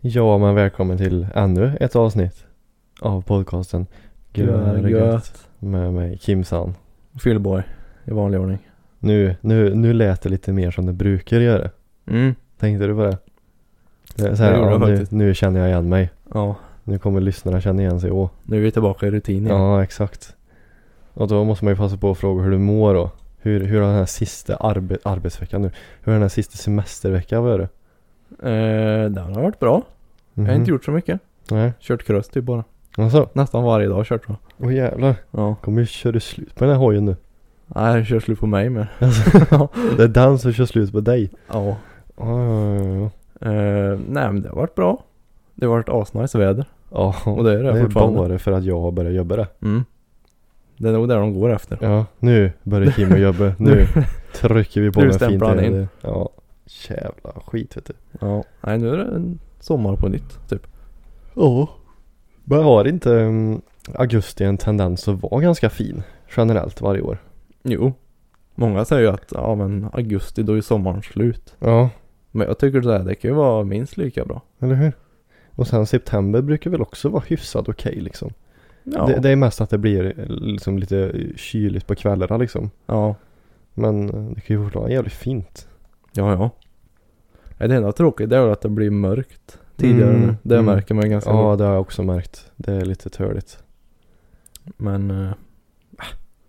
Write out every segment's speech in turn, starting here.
Ja, men välkommen till ännu ett avsnitt av podcasten Gör gött med mig Kimsan. Fyllborg i vanlig ordning. Nu, nu, nu lät det lite mer som det brukar göra. Mm. Tänkte du på det? det är så här, Jag gjorde ja, det nu, faktiskt. nu känner jag igen mig. Ja, Nu kommer lyssnarna känna igen sig. Åh. nu är vi tillbaka i rutin igen. Ja, exakt. Och då måste man ju passa på att fråga hur du mår då. Hur, hur har den här sista arbe, arbetsveckan nu? Hur har den här sista semesterveckan varit? Eh, den har varit bra. Jag har inte gjort så mycket. Mhm. Nej. Kört cross typ bara. Alltså, Nästan varje dag har jag kört bra. åh jävlar. Ja. Kommer ju köra slut på den här hojen nu. Nej, det kör slut på mig med. Det är den som kör slut på dig. ja. Ja, ja, ja, ja. Eh, nej men det har varit bra. Det har varit asnice väder. Ja, Och det är det, det är fortfarande. bara för att jag har börjat jobba det. Mm. Det är nog där de går efter. Ja, nu börjar Kim och jobba. Nu trycker vi på Nu med fint. stämplar han in. det. Ja, jävla skit vet du. Ja. Nej, nu är det en sommar på nytt typ. Ja. Men har inte mm, augusti en tendens att vara ganska fin generellt varje år? Jo. Många säger ju att ja men augusti då är sommaren slut. Ja, Men jag tycker så här, det kan ju vara minst lika bra. eller hur? Och sen september brukar väl också vara hyfsat okej liksom. Ja. Det, det är mest att det blir eh, liksom lite kyligt på kvällarna liksom. ja. Men eh, det kan ju fortfarande vara jävligt fint. Ja, ja. Nej, Det enda tråkiga det är väl att det blir mörkt tidigare Mm, nu. Det mm. märker man ganska Ja, mycket. det har jag också märkt. Det är lite törligt. Men eh, äh,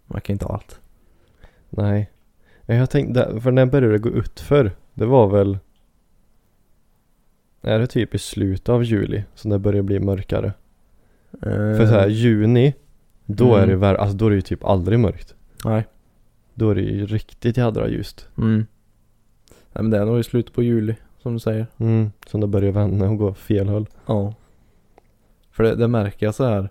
man kan inte ha allt. Nej. Ja, Jag tänkte, för när började det gå utför? Det var väl... Är det typ i slutet av juli som det börjar bli mörkare? Eh, För så här, juni, då är det Mm. värre, alltså då är det ju typ aldrig mörkt. Nej. Då är det ju riktigt jädra ljust. Mm. Nej men det är nog i slutet på juli som du säger. Mm. Som det börjar vända och gå fel håll. Ja. För det, det märker jag så här.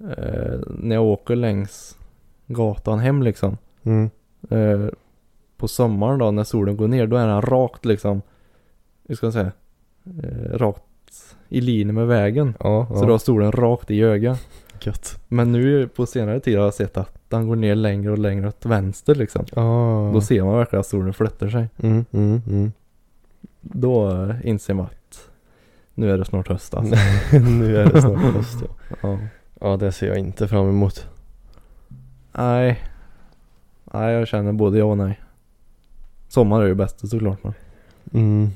eh, när jag åker längs gatan hem liksom. Mm. Eh, på sommaren då när solen går ner då är den rakt liksom. Hur ska man säga? Eh, rakt i linje med vägen. Ja, Så då har solen rakt i ögat. gött. Men nu på senare tid har jag sett att den går ner längre och längre åt vänster liksom. Ja. Då ser man verkligen att solen flyttar sig. Mm, mm, mm. Då eh, inser man att nu är det snart höst alltså. nu är det snart höst ja. Ja. ja, det ser jag inte fram emot. Nej. Nej, jag känner både ja och nej. Sommar är ju bäst såklart men. Mm.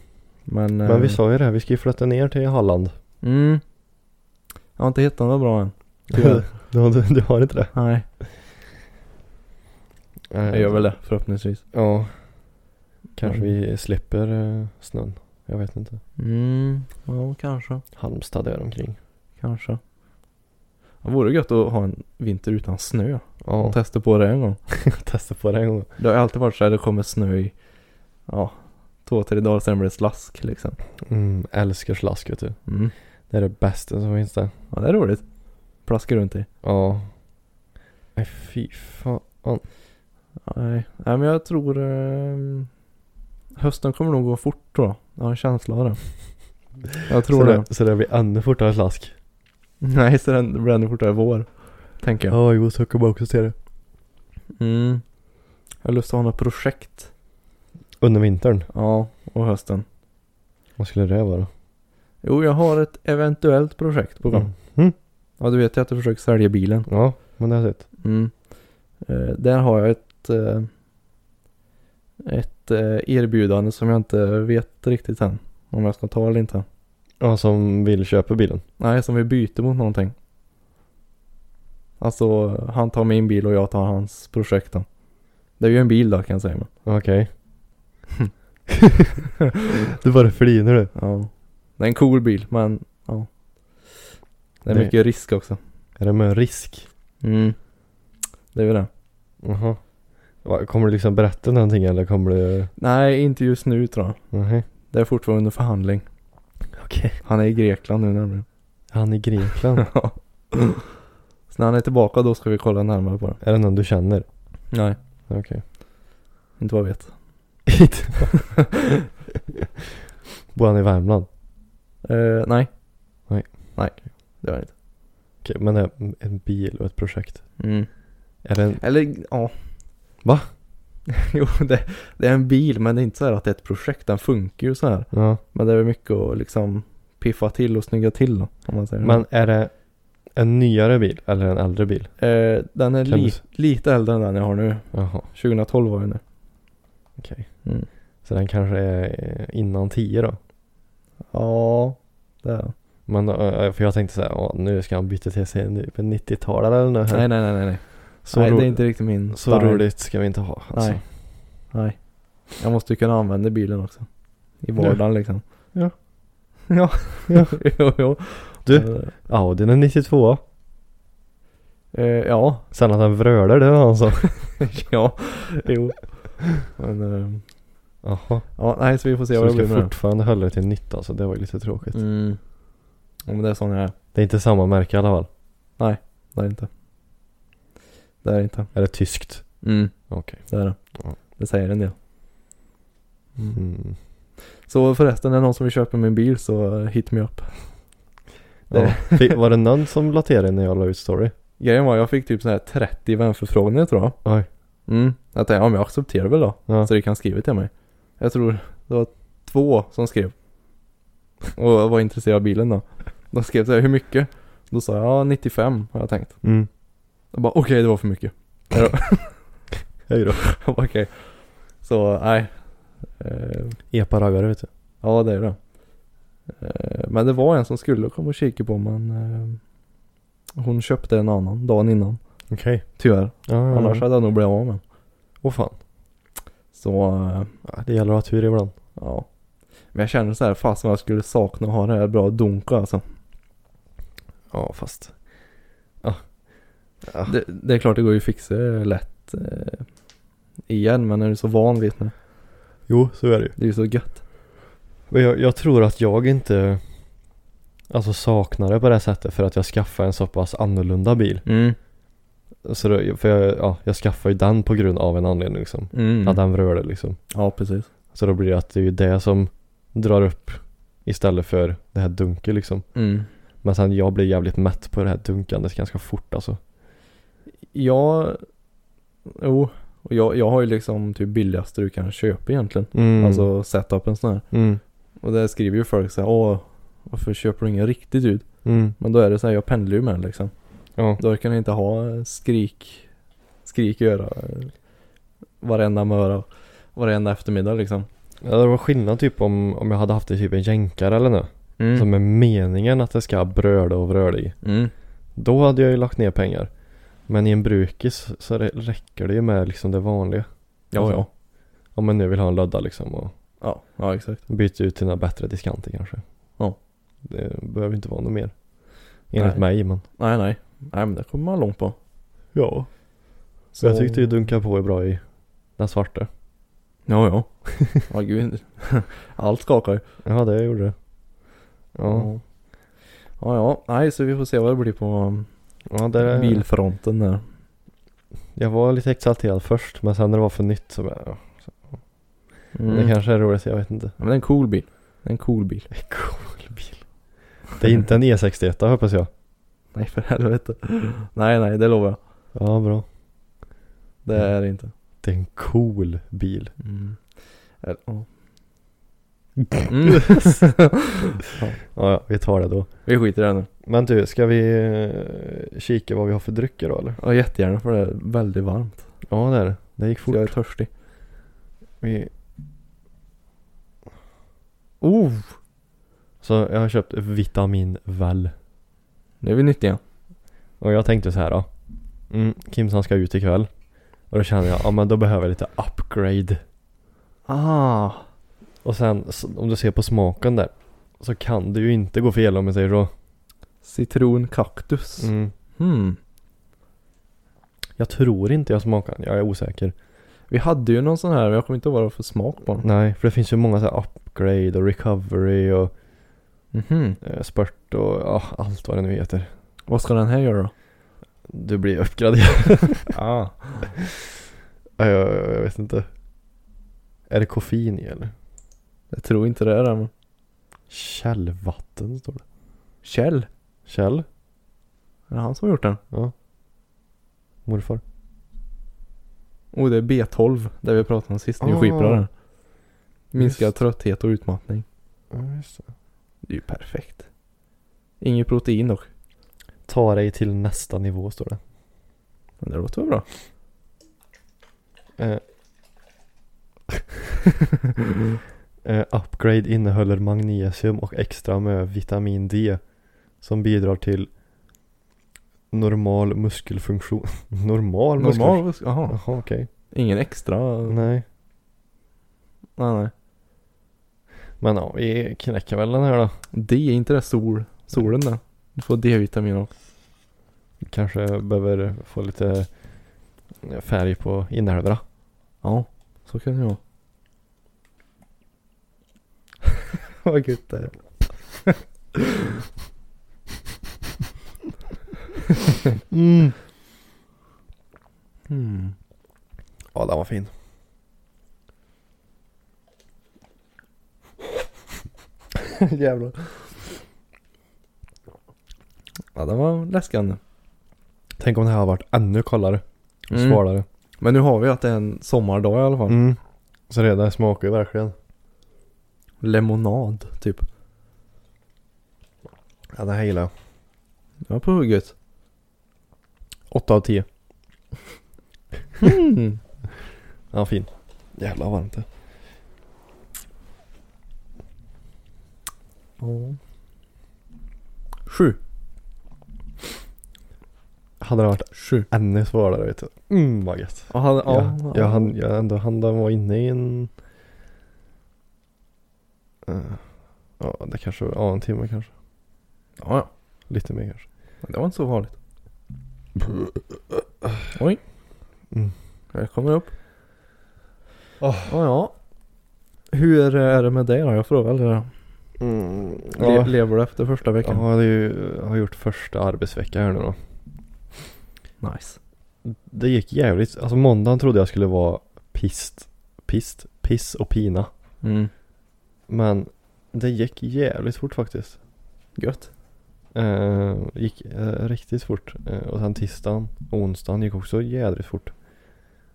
Men, eh, Men vi sa ju det, här, vi ska ju flytta ner till Halland. Mm. Jag har inte hittat något bra än. Tyvärr. du, har- du, du har inte det? nej, Nej, jag gör väl det förhoppningsvis. Ja. Kanske vi slipper eh, snön. Jag vet inte. Mm, ja kanske. Halmstad är omkring. Kanske. Det vore gött att ha en vinter utan snö. Ja, Testa på det en gång. testa på det en gång. Det har ju alltid varit så här, det kommer snö i, ja, två, tre dagar sen blir det slask liksom. Mm, älskar slask vet du. Mm. Det är det bästa som finns där. Ja, det är roligt. Plaska runt i. Ja. Nej fy fan. Nej, Nej men jag tror eh, hösten kommer nog gå fort tror jag. Jag har en känsla av det. Jag tror så det. Så det blir ännu fortare slask. Nej, så den det blir ännu fortare vår. Tänker jag. jo så kommer jag också se det. Mm. Jag har lust att ha något projekt. Under vintern. Ja, och hösten. Vad skulle det vara? Jo, jag har ett eventuellt projekt på gång. Mm. Mm. Ja, du vet ju att jag försöker sälja bilen. Ja, men det är det. Mm. Eh, där har jag ett, eh, ett eh, erbjudande som jag inte vet riktigt än. Om jag ska ta eller inte. Ja, som vill köpa bilen. Nej, som vi byter mot någonting. Alltså, han tar min bil och jag tar hans projekt då. Det är ju en bil då kan jag säga. Men. Okej. Hm. du bara flinar du. Ja. Det är en cool bil, men ja. Det är Det- mycket risk också. Är det med risk? Mm. Det är ju det. Jaha. Va, Kommer du liksom berätta någonting eller kommer du... Nej, inte just nu tror jag. Nej. Det är fortfarande under förhandling. Okej. Han är i Grekland nu nämligen. Han i Grekland. Ja. Så när han är tillbaka då ska vi kolla närmare på det. är det någon du känner? Nej. Okej. Inte vad jag vet. Bor han i Värmland? Eh, nej. Nej. Nej. Det var det inte. Okej, men det är en bil och ett projekt. Mm. Är det en... Eller ja. Va? jo det, det är en bil men det är inte så här att det är ett projekt. Den funkar ju så här. Ja. Men det är väl mycket att liksom piffa till och snygga till då, om man säger Men är det en nyare bil eller en äldre bil? så. eh, Den är Kan du li, s- lite äldre än den jag har nu. Jaha, 2012 var den nu. okej. Mm. Så den kanske är eh, innan 10 då? Ja, det är den. Men eh, för jag tänkte såhär, åh, nu ska han byta till sig en ny- en 90-talare eller något. Nej, nej, nej, nej. nej. så nej ro- det är inte riktigt min så style. roligt ska vi inte ha. Alltså. Nej. Nej. Jag måste ju kunna använda bilen också. I vardagen liksom. Ja. Ja. Ja. jo, jo. Du, Audin är 92 Eh, ja. Sen att han vrölar det var han som. ja. Jo. Men. Eh, Jaha. ja, nej så vi får se Så vad du det blir ska med det. fortfarande hålla dig till 19 så det var ju lite tråkigt. Mm. Ja, men det är sån jag är. Det är inte samma märke i alla fall. Det är det inte. Det är det inte. Är det tyskt? Mm. Okej. Det är det. Ja. Det säger en del. Mm. Så förresten, är det någon som vill köpa min bil så eh, hit me up. Ja. Fick- Var det någon som la till dig när jag la ut story? Grejen var jag fick typ så här 30 vänförfrågningar tror jag. Oj. Mm. Jag tänkte, ja men jag accepterar väl då. Ja. Så du kan skriva till mig. Jag tror det var två som skrev. Och var intresserade av bilen då. De skrev så här, hur mycket? Då sa jag, ja 95 har jag tänkt. Mm. Jag bara, okej det var för mycket. Hej då. Jag bara, okej. Så nej. Eh, Epa-raggare vet du. ja det är det. Eh, men det var en som skulle komma och kika på men eh, hon köpte en annan dagen innan. Okej. Okay. Tyvärr. Ja, Annars Annars. hade jag nog blivit av med den. Åh fan. Så eh, Ja, Det gäller att ha tur ibland. Ja. Men jag känner så här, fast jag skulle sakna att ha det här bra dunka alltså. Ja fast. Ja. Det, det är klart det går ju att fixa lätt eh, igen men är du så van vid det? Jo så är det ju. Det är ju så gött. Men jag, jag tror att jag inte Alltså saknar det på det här sättet för att jag skaffade en så pass annorlunda bil. Mm. Så då, för jag, ja, jag skaffade ju den på grund av en anledning liksom. Mm. Att den rörde liksom. Ja precis. Så då blir det att det är ju det som drar upp istället för det här dunket liksom. Mm. Men sen jag blir jävligt mätt på det här dunkandet ganska fort alltså. Jag, jo, och jag, jag har ju liksom typ billigaste du kan köpa egentligen. Mm. Alltså setupen sån här. Mm. Och där skriver ju folk så här, åh varför köper du ingen riktigt ut? Mm. Men då är det så här, jag pendlar ju med den liksom. Ja. Då kan jag inte ha skrik, skrik i öra eh, varenda möra, varenda eftermiddag liksom. ja. Det var skillnad typ om, om jag hade haft det typ en jänkare eller något. Mm. Som är meningen att det ska bröda och vröda i. mm. Då hade jag ju lagt ner pengar. Men i en brukis så rä- räcker det ju med liksom det vanliga. Ja, ja. Om man nu vill ha en lödda liksom och Ja, ja exakt. byta ut till några bättre diskanter kanske. Ja. Det behöver inte vara något mer. Enligt Nej. mig men. Nej, nej. Nej, men det kommer man långt på. Ja. Så Jag tyckte ju dunka på är bra i den svarta. Ja, ja. Ja, gud. Allt skakar ju. Ja det gjorde det. Ja. Mm. Ja. ja, ja. Nej, så vi får se vad det blir på um, ja det, bilfronten där. Jag var lite exalterad först men sen när det var för nytt så bara, ja. Mm. Det kanske är roligt, jag vet inte. ja, men det är en cool bil. Det är en cool bil. Cool bil. Det är inte en E61 hoppas jag. Nej, för helvete. Nej, nej, det lovar jag. Ja bra. Det är det inte. Det är en cool bil. Mm. Eller, ja. Mm. Ja, ja, vi tar det då. Vi skiter i det nu. Men du, ska vi eh, kika vad vi har för drycker då eller? Ja, jättegärna för det är väldigt varmt. Ja det är det. Det gick Så jag är fort. törstig. Vi, Oh! så jag har köpt vitamin väl. Nu är vi nyttiga. Och jag tänkte så här då. Mm, Kimsan ska ut ikväll. Och då kände jag, ja men då behöver jag lite upgrade. Ah! Och sen s- om du ser på smaken där. Så kan det ju inte gå fel om jag säger så. Citronkaktus. Mm. Hmm. Jag tror inte jag smakar den, jag är osäker. Vi hade ju någon sån här, men jag kommer inte ihåg vad det var för smak på den. Nej, för det finns ju många så här up- upgrade och recovery och Mhm. eh, spurt och ja, allt vad det nu heter. Vad ska den här göra då? Du blir uppgraderad. Ah. Ja, jag, jag vet inte. Är det koffein i eller? Jag tror inte det är det men... Källvatten står det. Kjell? Käll? Är det han som har gjort den? Ja. Morfar. Oh det är B12, där vi pratade om sist, Ah. njurskitbrädan. Minskad Just. trötthet och utmattning. Ja, just det. Det är ju perfekt. Inget protein dock. Ta dig till nästa nivå står det. Men det låter väl bra. Eh. Eh, upgrade innehåller magnesium och extra med vitamin D som bidrar till normal muskelfunktion. normal muskelfunktion? Normal, Mm. jaha. Jaha, okej. Ingen extra? Nej, Nej. nej. Men ja, vi knäcker väl den här då. D, är inte det sol, solen där? Du får D-vitamin också. Vi Kanske behöver få lite eh, färg på inälvorna. Ja, så kan det vara. Vad gött det är. Mm. Mm. Ja, den var fin. Jävlar. Ja, den var läskande. Tänk om det här hade varit ännu kallare och Mm. svalare. Men nu har vi att det är en sommardag i alla fall. Mm. Så det där smakar ju verkligen. Lemonad, typ. Ja, den här gillar jag. Det var på hugget. 8 av 10. Mm. Ja, fin. Jävlar vad varmt det är. Sju. Hade det varit Sju. ännu svalare vet du. Mm vad gött. Ja, han, ja, jag, jag, hann, jag ändå hann den vara inne i en... Eh, Ja, det kanske, ja en timme kanske. ja, ja. Lite mer kanske. Det var inte så farligt. Oj. Mm. Här kommer det upp. Ja, ja. Hur är det med dig då? Jag frågar aldrig det. Le- Ja, Lever du efter första jag veckan? har ju, har gjort första arbetsvecka här nu då. Nice. Det gick jävligt, alltså måndagen trodde jag skulle vara pist, pist, piss och pina. Mm. Men det gick jävligt fort faktiskt. Gött. Eh, gick eh, riktigt fort. Eh, och sen tisdagen och onsdagen gick också jädrigt fort.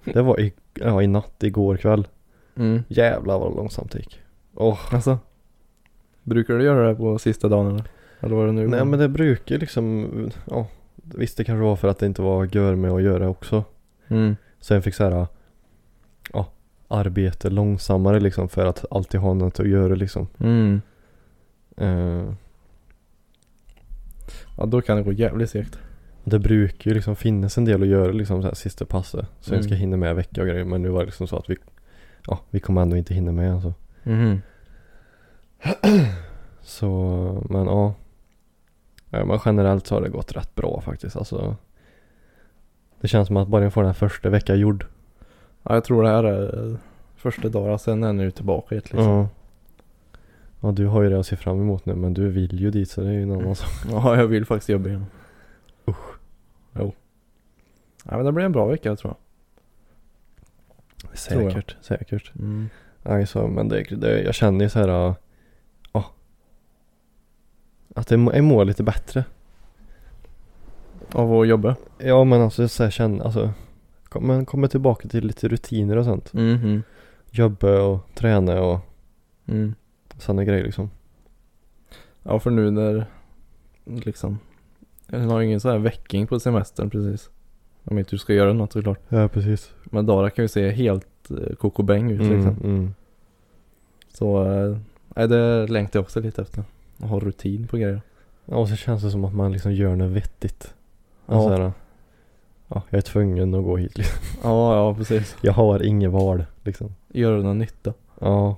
Det var i, ja, i natt, igår kväll. Mm. Jävlar vad långsamt det gick. Alltså. Brukar du göra det på sista dagen eller? Eller var det nu? Nej men det brukar ju liksom, ja. Visst det kanske var för att det inte var gör med att göra också. Mm. Sen fick så här, ja, arbete långsammare liksom för att alltid ha något att göra liksom. Mm. Eh, Ja då kan det gå jävligt segt. Det brukar ju liksom finnas en del att göra liksom så här sista passet. Så jag ska Mm. hinna med vecka och grejer. Men nu var det liksom så att vi, ja, vi kommer ändå inte hinna med alltså. Mm. Så, men ja. Nej, Men generellt så har det gått rätt bra faktiskt. Alltså, det känns som att bara jag får den här första veckan gjord. Ja jag tror det här är eh, första dagen, sen är nu tillbaka hit liksom. Ja. ja, du har ju det att se fram emot nu. Men du vill ju dit så det är ju en annan sak. Ja, jag vill faktiskt jobba igen. Usch. Jo. Ja, men det blir en bra vecka tror jag. Säkert, säkert. jag. Mm. Nej, så, men det, det, jag känner ju så här, ja. ja, Att det, jag mår lite bättre. Av att jobba? Ja men alltså så här känna, alltså kom- man kommer tillbaka till lite rutiner och sånt. Mhm. Jobba och träna och Mm. sådana grejer liksom. Ja, för nu när liksom. Jag har ingen sån här väcking på semestern precis. Om inte du ska göra något såklart. Ja precis. Men Dara kan ju se helt eh, kokobäng ut Mm, liksom. mm. Så, eh, nej det längtar jag också lite efter. Att ha rutin på grejer. Ja, och så känns det som att man liksom gör något vettigt. Alltså, Ja. ja. Här, ja, jag är tvungen att gå hit liksom. Ja, ja precis. Jag har inget val liksom. Göra någon nytta. Ja.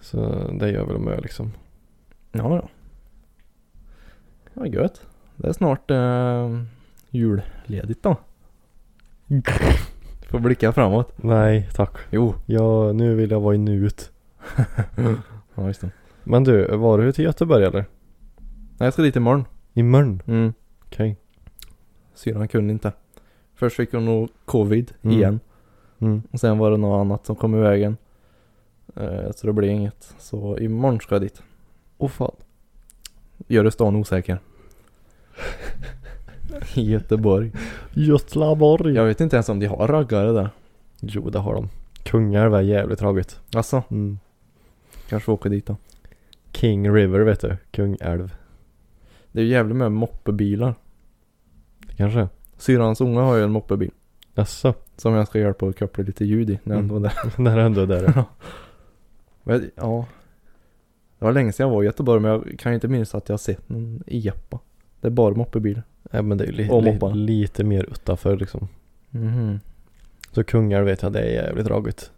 Så det gör väl med liksom. Ja, ja. Ja, gött. Det är snart eh, julledigt då. Får blicka framåt. Nej tack. Jo. Jag, nu vill jag vara i nuet. Ja, just det. Men du, var du till Göteborg eller? Nej, jag ska dit imorgon. Imorgon? Mm. Okej. Syrran kunde inte. Först fick hon nog covid Mm. igen. Mm. Och sen var det något annat som kom i vägen. Eh, så det blev inget. Så imorgon ska jag dit. Åh fan. Gör du stan osäker? Göteborg. Götlaborg. Jag vet inte ens om de har raggare där. Jo, det har de. Kungälv är jävligt roligt. Alltså, Mm. kanske får åka dit då. King River vet du. Kungälv. Det är ju jävligt med moppebilar. Det kanske är. Syrrans unga har ju en moppebil. Jaså? Som jag ska hjälpa att koppla lite ljud i när jag Mm. ändå är där. När är ändå där. Men, ja. Det var länge sedan jag var i Göteborg men jag kan ju inte minnas att jag har sett någon Jeppa. Det är bara moppebilar. Nej men det är ju li- Och li- mopparna. lite mer utanför liksom. Mhm. Så Kungälv vet jag, det är jävligt roligt.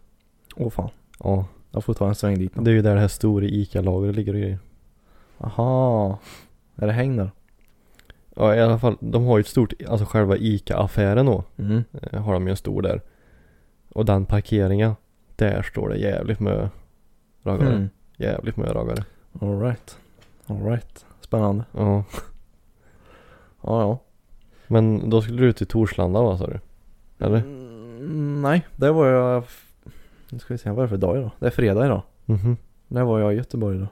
Åh fan. Ja. Jag får ta en sväng dit. då. Det är ju där det här stora ICA-lagret ligger och grejer. Aha. Är det häng där? Ja i alla fall, de har ju ett stort, alltså själva ICA-affären då. Mm. eh, Har de ju en stor där. Och den parkeringen. Där står det jävligt med raggare. Mm. Jävligt med raggare. Alright. Alright. Spännande. Ja. Ja, ja. Men då skulle du till Torslanda va sa du? Eller? Mm, nej, det var jag... Nu ska vi se, vad är det för dag idag? Det är fredag idag. Mhm. När var jag i Göteborg då?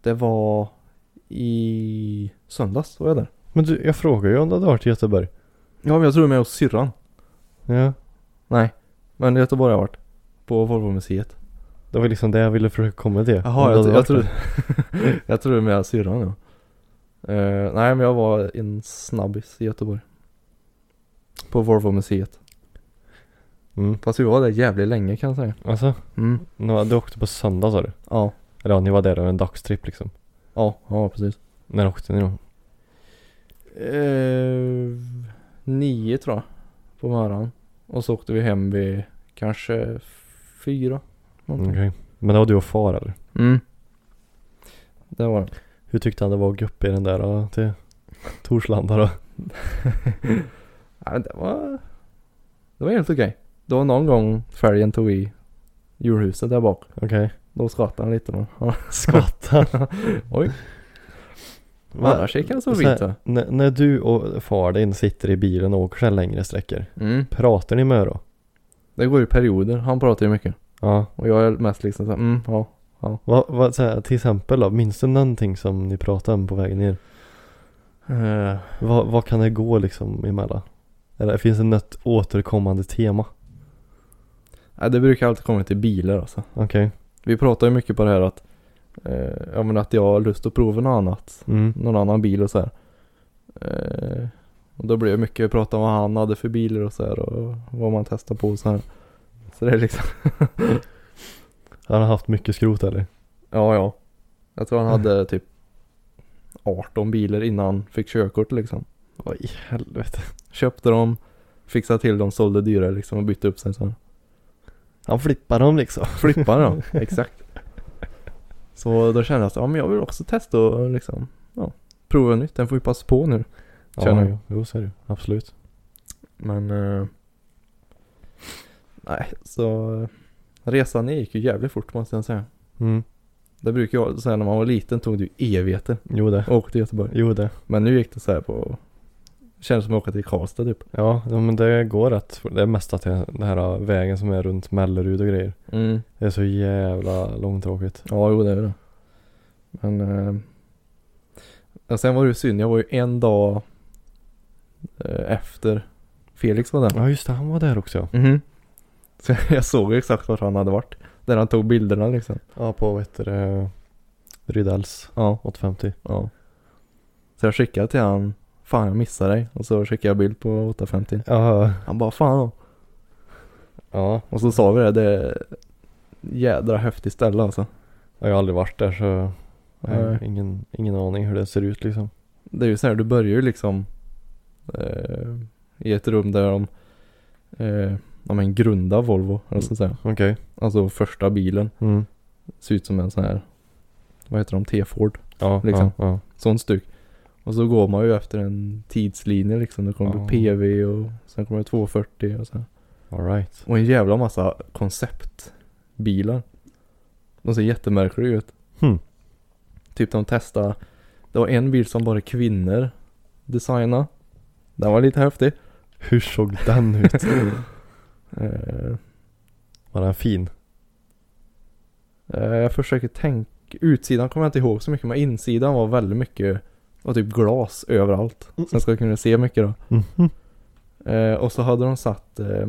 Det var i söndags var jag där. Men du, jag frågar ju om du hade varit i Göteborg. Ja, men jag tror med hos syrran. Ja. Nej, men i Göteborg har jag varit. På Volvo-museet. Det var liksom det jag ville försöka komma till. Om Jaha, du jag, hade jag, varit trodde... där. jag trodde med syrran ja. Eh, nej, men jag var en snabbis i Göteborg. På Volvo-museet. Mm. Fast vi var där jävligt länge kan jag säga. Alltså, Mm. nå- du åkte på söndag sa du? Ja. Eller ja, ni var där över en dagstripp liksom. Ja, ja precis. När åkte ni då? Eh, nio tror jag. På morgonen. Och så åkte vi hem vid kanske fyra. Okej. någonting. Men det var du och far eller? Mm. Det var det. Hur tyckte han det var att gå upp i den där då, till Torslanda då? Ja, men det var... Det var helt okej. Det var någon gång fälgen tog i julhuset där bak. Okej. Då skrattade han lite men. ja. Skvatta. Oj. Annars gick han så fint så. När, när du och far din sitter i bilen och åker så här längre sträckor. Mm. Pratar ni med er då? Det går ju perioder. Han pratar ju mycket. Ja. Och jag är mest liksom såhär, mm, ja. Vad, vad, så här, till exempel då, minns du någonting som ni pratade om på vägen ner? Eh, Vad, vad kan det gå liksom emellan? Eller finns det något återkommande tema? nej, det brukar alltid komma till bilar alltså. Okej. Vi pratar ju mycket på det här att, eh, ja men att jag har lust att prova något annat, Mm. någon annan bil och så här. Eh, och då blir det mycket prat om vad han hade för bilar och så här och vad man testar på och så här. Så det är liksom, Han har haft mycket skrot eller? ja ja. Jag tror han hade typ 18 bilar innan han fick körkort liksom. Vad i helvete. Köpte dem, fixade till dem, sålde dyrare liksom och bytte upp sig så här. Han flippar dem liksom. Flippade dem, exakt. Så då kände jag att, ja men jag vill också testa och liksom, ja. Prova nytt, den får vi passa på nu. Känner Ja, jag. jo, jo, så är det ju. Absolut. Men... eh, nej, så... eh, resan ner gick ju jävligt fort måste jag säga. Mm. Det brukar jag säga när man var liten tog det ju evigheter Jo det. att åka till Göteborg. Jo det. Men nu gick det så här på... Kändes som att åka till Karlstad typ. Ja, ja, men det går rätt. Det är mest att det den här äh, vägen som är runt Mellerud och grejer. Mm. Det är så jävla långtråkigt. Ja, jo det är det. Men... eh, ja, sen var det ju synd, jag var ju en dag eh, efter Felix var där. Ja just det, han var där också ja. Mhm. Så jag såg ju exakt vart han hade varit. Där han tog bilderna liksom. Ja på vad heter det? Rydells Ja. 850. Ja. Så jag skickade till han, fan jag missade dig. Och så skickade jag bild på 850. Ja. Han bara fan. då." Ja. Och så sa vi det, det är jädra häftigt ställe alltså. Jag har aldrig varit där så jag har Nej. ingen, ingen aning hur det ser ut liksom. Det är ju så här, du börjar ju liksom eh, i ett rum där de, eh, ja men grunda Volvo, eller vad ska jag säga. Mm, Okej. Alltså första bilen, Mm. ser ut som en sån här, vad heter de, T-Ford. Ja, Liksom. ja, ja. Sån stuk. Och så går man ju efter en tidslinje liksom. Det kommer Ja. bli PV och sen kommer det 240 och så. här. All right. Och en jävla massa konceptbilar. De ser jättemärkliga ut. Hmm. Typ de testade, det var en bil som bara kvinnor designa. Den var lite häftig. Hur såg den ut? Eh, Var den fin? eh, jag försöker tänka, utsidan kommer jag inte ihåg så mycket men insidan var väldigt mycket och typ glas överallt. Så jag ska kunna se mycket då. Mhm. Eh, och så hade de satt, eh,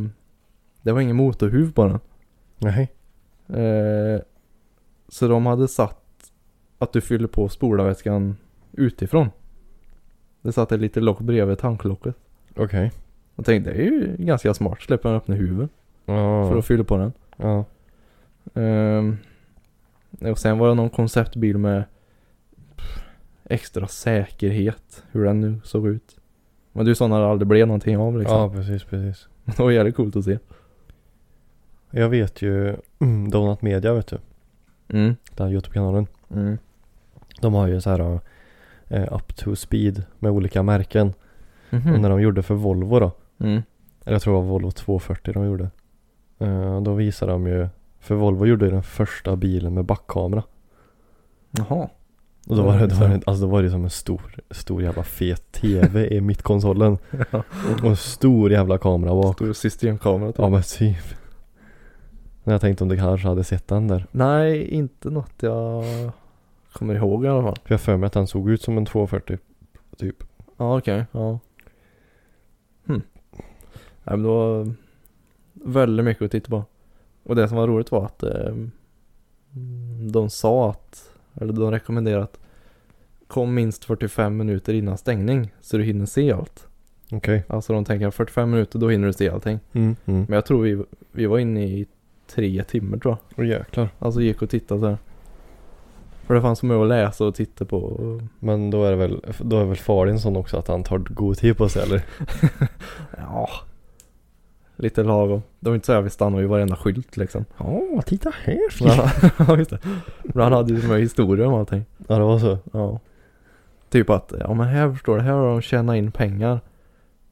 det var ingen motorhuv på den. Nej. Eh, så de hade satt att du fyller på spolarvätskan utifrån. Det satt ett litet lock bredvid tanklocket. Okej. Jag tänkte det är ju ganska smart, släpper den öppna huven för Ja. att fylla på den. Ja. Ehm, och sen var det någon konceptbil med pff, extra säkerhet, hur den nu såg ut. Men det är ju sådana det aldrig blev någonting av liksom. ja, precis, precis. Det var jävligt coolt att se. Jag vet ju mm, Donut Media vet du. Mm. Den här Youtube-kanalen. Mm. De har ju så här eh, up to speed med olika märken. Och när Mhm. de gjorde för Volvo då. Mm. Eller jag tror det var Volvo 240 de gjorde. Eh, då visade de ju. För Volvo gjorde ju den första bilen med backkamera. Jaha. Och då var det, då var det, Mm. alltså då var det som en stor, stor jävla fet TV i mittkonsolen. Och en stor jävla kamera bak. Stor systemkamera typ. Ja men typ. Men jag tänkte om du kanske hade sett den där. Nej, inte något jag kommer ihåg i alla fall. För jag har för mig att den såg ut som en 240. Typ. Ja, okej. Ja. Hmm. Nej, men det var väldigt mycket att titta på. Och det som var roligt var att eh, de sa att, eller de rekommenderade att kom minst 45 minuter innan stängning så du hinner se allt. Okej. Alltså de tänker 45 minuter då hinner du se allting. Mm. Mm. Men jag tror vi, vi var inne i tre timmar tror jag. Åh jäklar. Alltså gick och tittade så här. För det fanns så mycket att läsa och titta på. Men då är det väl, då är väl Farin sån också att han tar god tid på sig eller? Ja. Lite lagom. Det var inte så här vi stannade vid varenda skylt liksom. Ja, titta här Men han- Ja, just det. Men han hade ju som en historia om allting. Ja det var så. Ja. Typ att, ja men här förstår du, här har de tjänat in pengar.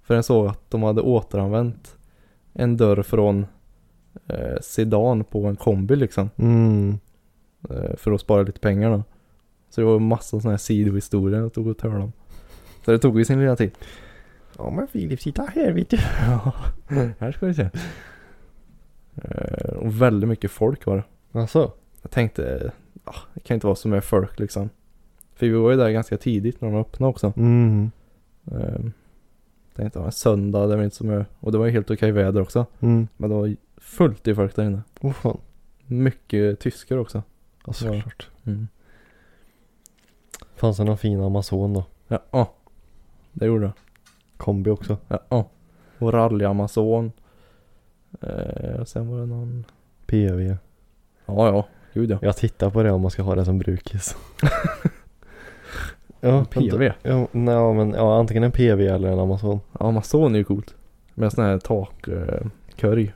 För jag såg att de hade återanvänt en dörr från eh, sedan på en kombi liksom. Mm. Eh, för att spara lite pengar då. Så det var massa sådana här sidohistorier jag tog och hörde om. Så det tog ju sin lilla tid. Ja men Filip, titta här vet du. Ja, här ska vi se. Eh, Och väldigt mycket folk var det. Alltså. Jag tänkte, ja, det kan inte vara så mycket folk liksom. För vi var ju där ganska tidigt när de öppnade också. Mm. Eh, Tänkte, ja, en söndag, det var inte så mycket. Och det var ju helt okej väder också. Mm. Men det var fullt i folk där inne. Åh fan. Mycket tyskar också. Ja Mm. Ja. såklart. Fanns det någon fin Amazon då? Ja, ja. det gjorde det. Kombi också. Ja, ja. Och rally-Amazon. Eh, och sen var det någon... PV. Ja, ja. Gud ja. Jag tittar på det om man ska ha det som brukis. ja, PV. Ja, nej, men, ja, antingen en PV eller en Amazon. Ja, Amazon är ju coolt. Med sån här eh, takkorg.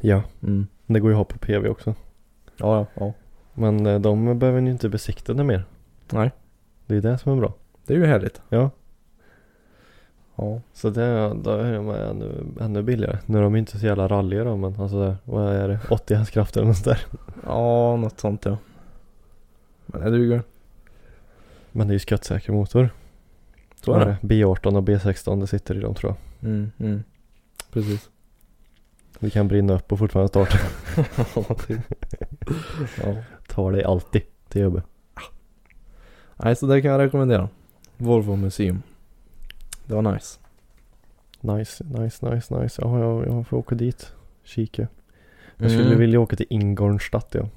Ja. Mm. Det går ju att ha på PV också. Ja, ja, ja. Men eh, de behöver ni inte besikta det mer. Nej, Det är det som är bra. det är ju härligt. Ja. Ja. Så det, då är de ännu, ännu billigare. Nu är de inte så jävla ralliga då men alltså där, vad är det? 80 hästkrafter eller något sånt där. ja, något sånt ja. Men det duger. Men det är ju skottsäker motor. Så är det. Ja, B18 och B16 det sitter i dem tror jag. Mm, mm. Precis. Det kan brinna upp och fortfarande starta. Ja. typ. Tar dig alltid till jobbet. Nej, så det kan jag rekommendera. Volvo Museum. Det var nice. Nice, nice, nice, nice. Ja, jag, jag får åka dit. Kika. Jag skulle Mm. vilja åka till Ingolstadt ja.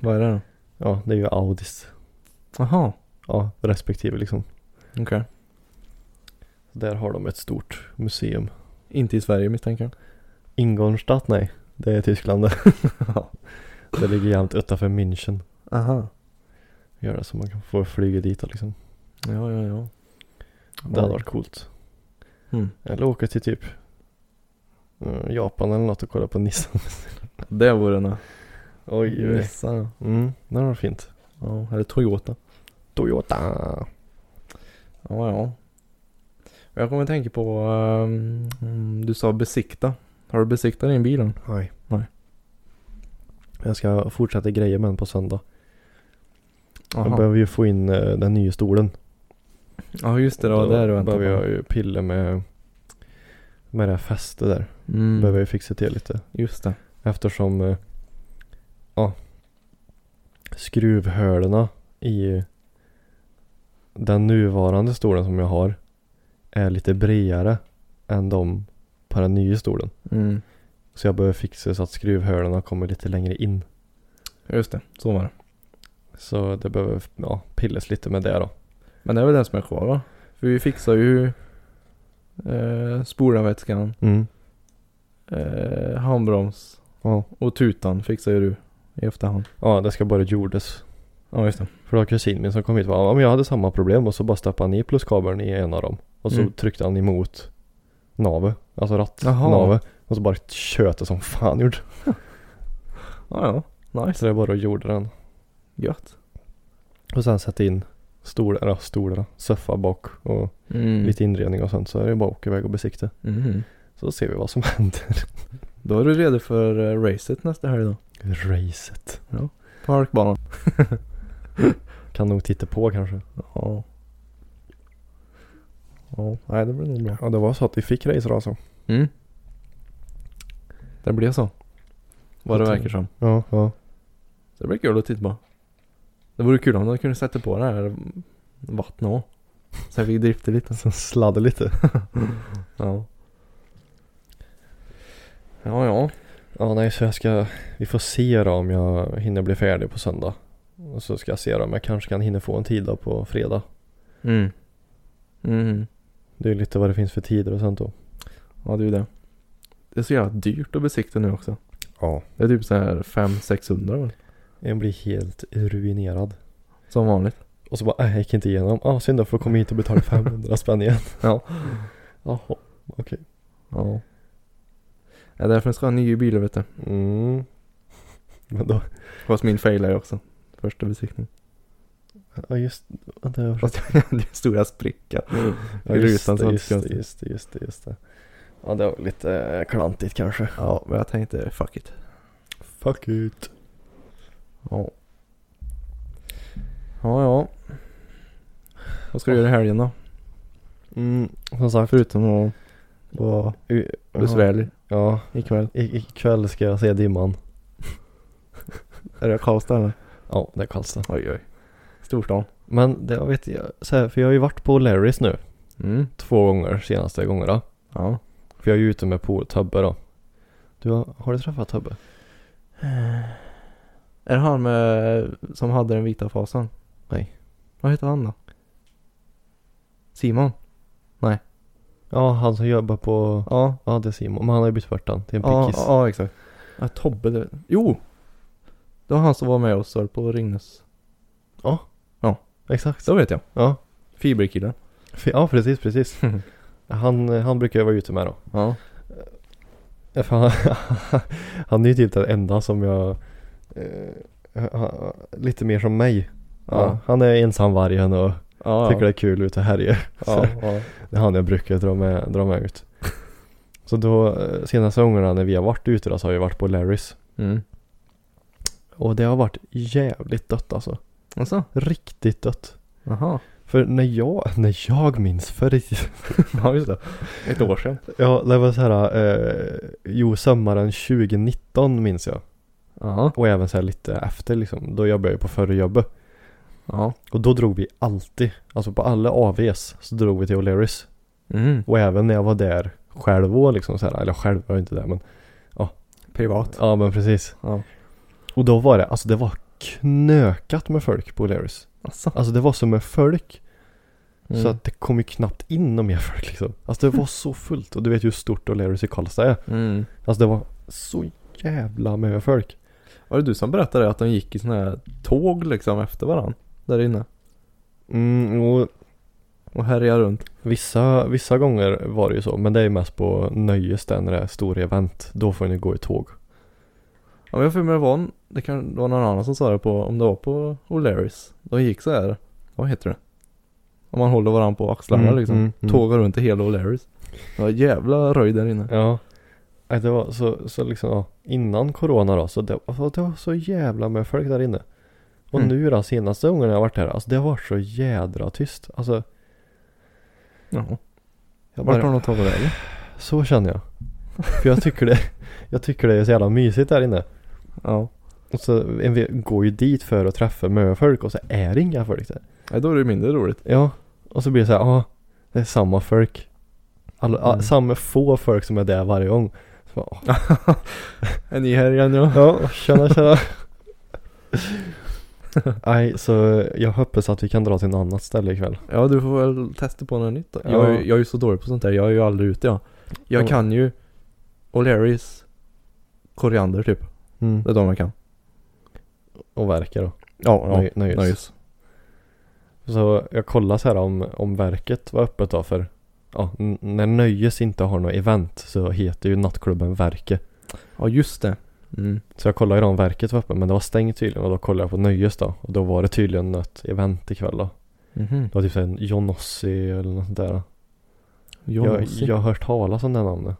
Vad är det då? Ja, det är ju Audis. Jaha, Ja, respektive liksom. okej. Där har de ett stort museum. Inte i Sverige misstänker jag. Ingolstadt nej, det är Tyskland det. Ja. det ligger jämt utanför München. Aha. Gör det så man kan få flyga dit då, liksom. Ja, ja, ja. Det hade varit coolt. Mm. Eller åka till typ eh, Japan eller något och kolla på Nissan. Det vore en... Oj oj. Nissan, Mm, det var fint. ja. Eller Toyota. Toyota. Ja, ja. Jag kommer att tänka på, ehm, mm, du sa besikta. Har du besiktat din bil än? Nej. Nej. Jag ska fortsätta greja med den på söndag. Jag Aha. behöver ju få in eh, den nya stolen. Ja just det, det var Då där du väntade behöver på. jag ju pilla med, med det här fästet där. Behöver Mm. jag ju fixa till lite. Just det. Eftersom eh, ja, skruvhölen i den nuvarande stolen som jag har är lite bredare än de på den nya stolen. Mm. Så jag behöver fixa så att skruvhölen kommer lite längre in. Just det, så var det. Så det behöver ja, pillas lite med det då. Men det är väl det som är kvar va? För vi fixar ju eh, spolarvätskan, Mm. eh, handbroms Ja. och tutan fixar ju du i efterhand. ja, det ska bara jordes. Ja just det. För det var kusin min som kom hit och bara, ja men jag hade samma problem och så bara stappade han i pluskabeln i en av dem. Och så Mm. tryckte han emot navet, alltså Jaha. rattnavet. Och så bara tjöt det som fan gjort. Ja ja, nice. Så det är bara att jorda den. Gött. Och sen sätta in stolar, ja, stolar, soffa bak och Mm. lite inredning och sånt. Så är det bara att åka iväg och besikta. Mhm. Så ser vi vad som händer. Då är du redo för eh, racet nästa helg då. Racet. Parkbanan. Kan nog titta på kanske. Ja. Ja, nej det blir nog bra. Ja det var så att vi fick racer alltså. Mm. Det blir så. Vad det Jag tror- verkar som. Ja, ja. Det blir kul att titta på. Det vore kul om de kunde sätta på det här vattnet också. Så jag fick drifta lite. Sen sladdade lite. Ja. Ja, ja. Ja nej så jag ska, vi får se då om jag hinner bli färdig på söndag. Och så ska jag se då om jag kanske kan hinna få en tid då på fredag. Mm. Mm. Det är lite vad det finns för tider och sånt då. Ja, det är ju det. Det är så jävla dyrt att besikta nu också. Ja. Det är typ så här 500-600 väl? Jag blir helt ruinerad. Som vanligt. Och så bara, "Äh, jag gick inte igenom. Ah, synd då, får jag komma hit och betala 500 spänn igen. Ja. Jaha, okej. Ja. Det är därför jag ska ha en ny bil vet du. Mm. Men då, Fast min failade ju också. Första besiktning. ja just, vänta jag Fast jag hade ju stora spricka. ja, just, rutan det, så just, att- det, just det, just det, just det. Ja det var lite eh, klantigt kanske. Ja, men jag tänkte fuck it. Fuck it. Ja. Ja, ja. Vad ska du göra i helgen då? Mm, som sagt, Förutom att vara u- besvärlig Ja, ikväll. i- ikväll ska jag se dimman. Är det Karlstad eller? Ja, det är Karlstad. Oj, oj. Storstan. Men det jag vet jag, så här, för jag har ju varit på Larrys nu Mm. två gånger senaste gångerna. Ja. För jag är ju ute med på Tubbe då. Du har, har du träffat Tubbe? Är det han med, som hade den vita fasen? Nej. Vad heter han då? Simon? Ja, han som jobbar på, Ja. ja det är Simon, men han har ju bytt bort den till en Ja, pickis. ja, exakt. Ja, Tobbe. Det... Jo! Det var han som var med oss där på Ringnes. Exakt. Så vet jag. Ja. Fiberkillen. F- ja, precis, precis. Han, eh, han brukar jag vara ute med då. Ja. Ja, för Han, han är ju typ den enda som jag, eh, ha- lite mer som mig. Ja. Ja. Han är ensamvargen och Ja. tycker det är kul ute och härjar. ja, ja. Det är han jag brukar dra med, dra med ut. Så då, eh, senaste gångerna när vi har varit ute då så har vi varit på Larrys. Mm. Och det har varit jävligt dött alltså. Alltså? Riktigt dött. Jaha. För när jag, när jag minns förr i Ja just det. Ett år sedan. Ja, det var så här, eh, jo sommaren 2019 minns jag. Ja. Och även så här lite efter liksom, då jobbade jag ju på förra jobbet. Ja. Och då drog vi alltid, alltså på alla AVs så drog vi till O'Learys. Mm. Och även när jag var där själv och liksom så här, eller själv var jag inte där men, Privat. ja men precis. Ja. Och då var det, alltså det var knökat med folk på O'Learys. Alltså. Alltså det var som med folk. Mm. Så att det kom ju knappt in någon mer folk liksom. Alltså det var så fullt och du vet ju hur stort O'Learys i Karlstad är. Mm. Alltså det var så jävla mycket folk. Var det du som berättade att de gick i såna här tåg liksom efter varandra? Där inne. Mm, och Och härjade runt. vissa, vissa gånger var det ju så, men det är ju mest på nöjes där när det är stora event. Då får ni gå i tåg. Ja men jag får med det var, en- det kan, det var någon annan som sa det på, om det var på O'Learys. De gick så här. Vad heter det? Om man håller varandra på axlarna Mm, liksom. mm, mm. Tågar runt i hela O'Learys. Det var jävla röj där inne. Ja. Nej, Äh, det var så, så liksom, ja, innan corona då, så det, alltså, det var så jävla med folk där inne. Och Mm. nu då, senaste gången jag varit här, alltså det har varit så jädra tyst. Alltså, Jaha. jag Vart bara, har de tagit vägen? så känner jag. För jag tycker det, jag tycker det är så jävla mysigt där inne. Ja. Och så en vi går ju dit för att träffa med folk och så är det inga folk där. Nej, då är det ju mindre roligt. Ja, och så blir det så här, ja, det är samma folk. Alla, Mm. Samma få folk som är där varje gång. Så bara, åh, Är ni här igen ja? ja, tjena tjena. Nej, så jag hoppas att vi kan dra till något annat ställe ikväll. Ja, du får väl testa på något nytt då. Ja. Jag, är ju- jag är ju så dålig på sånt där. Jag är ju aldrig ute jag. Jag Ja. kan ju O'Learys koriander typ. Mm. Det är de jag kan. Och verka då. Ja, ja. Nöj, nöjes. Nöjes. Så jag kollar så här om, om verket var öppet då för Ja, n- när Nöjes inte har något event så heter ju nattklubben Verke. Ja, just det. Mm. Så jag kollade ju då om verket var öppet men det var stängt tydligen och då kollade jag på Nöjes då och då var det tydligen ett event ikväll då. Mhm. Det var typ såhär Jonossi eller något sånt där. Jag, Jonossi. jag har hört talas om det namnet.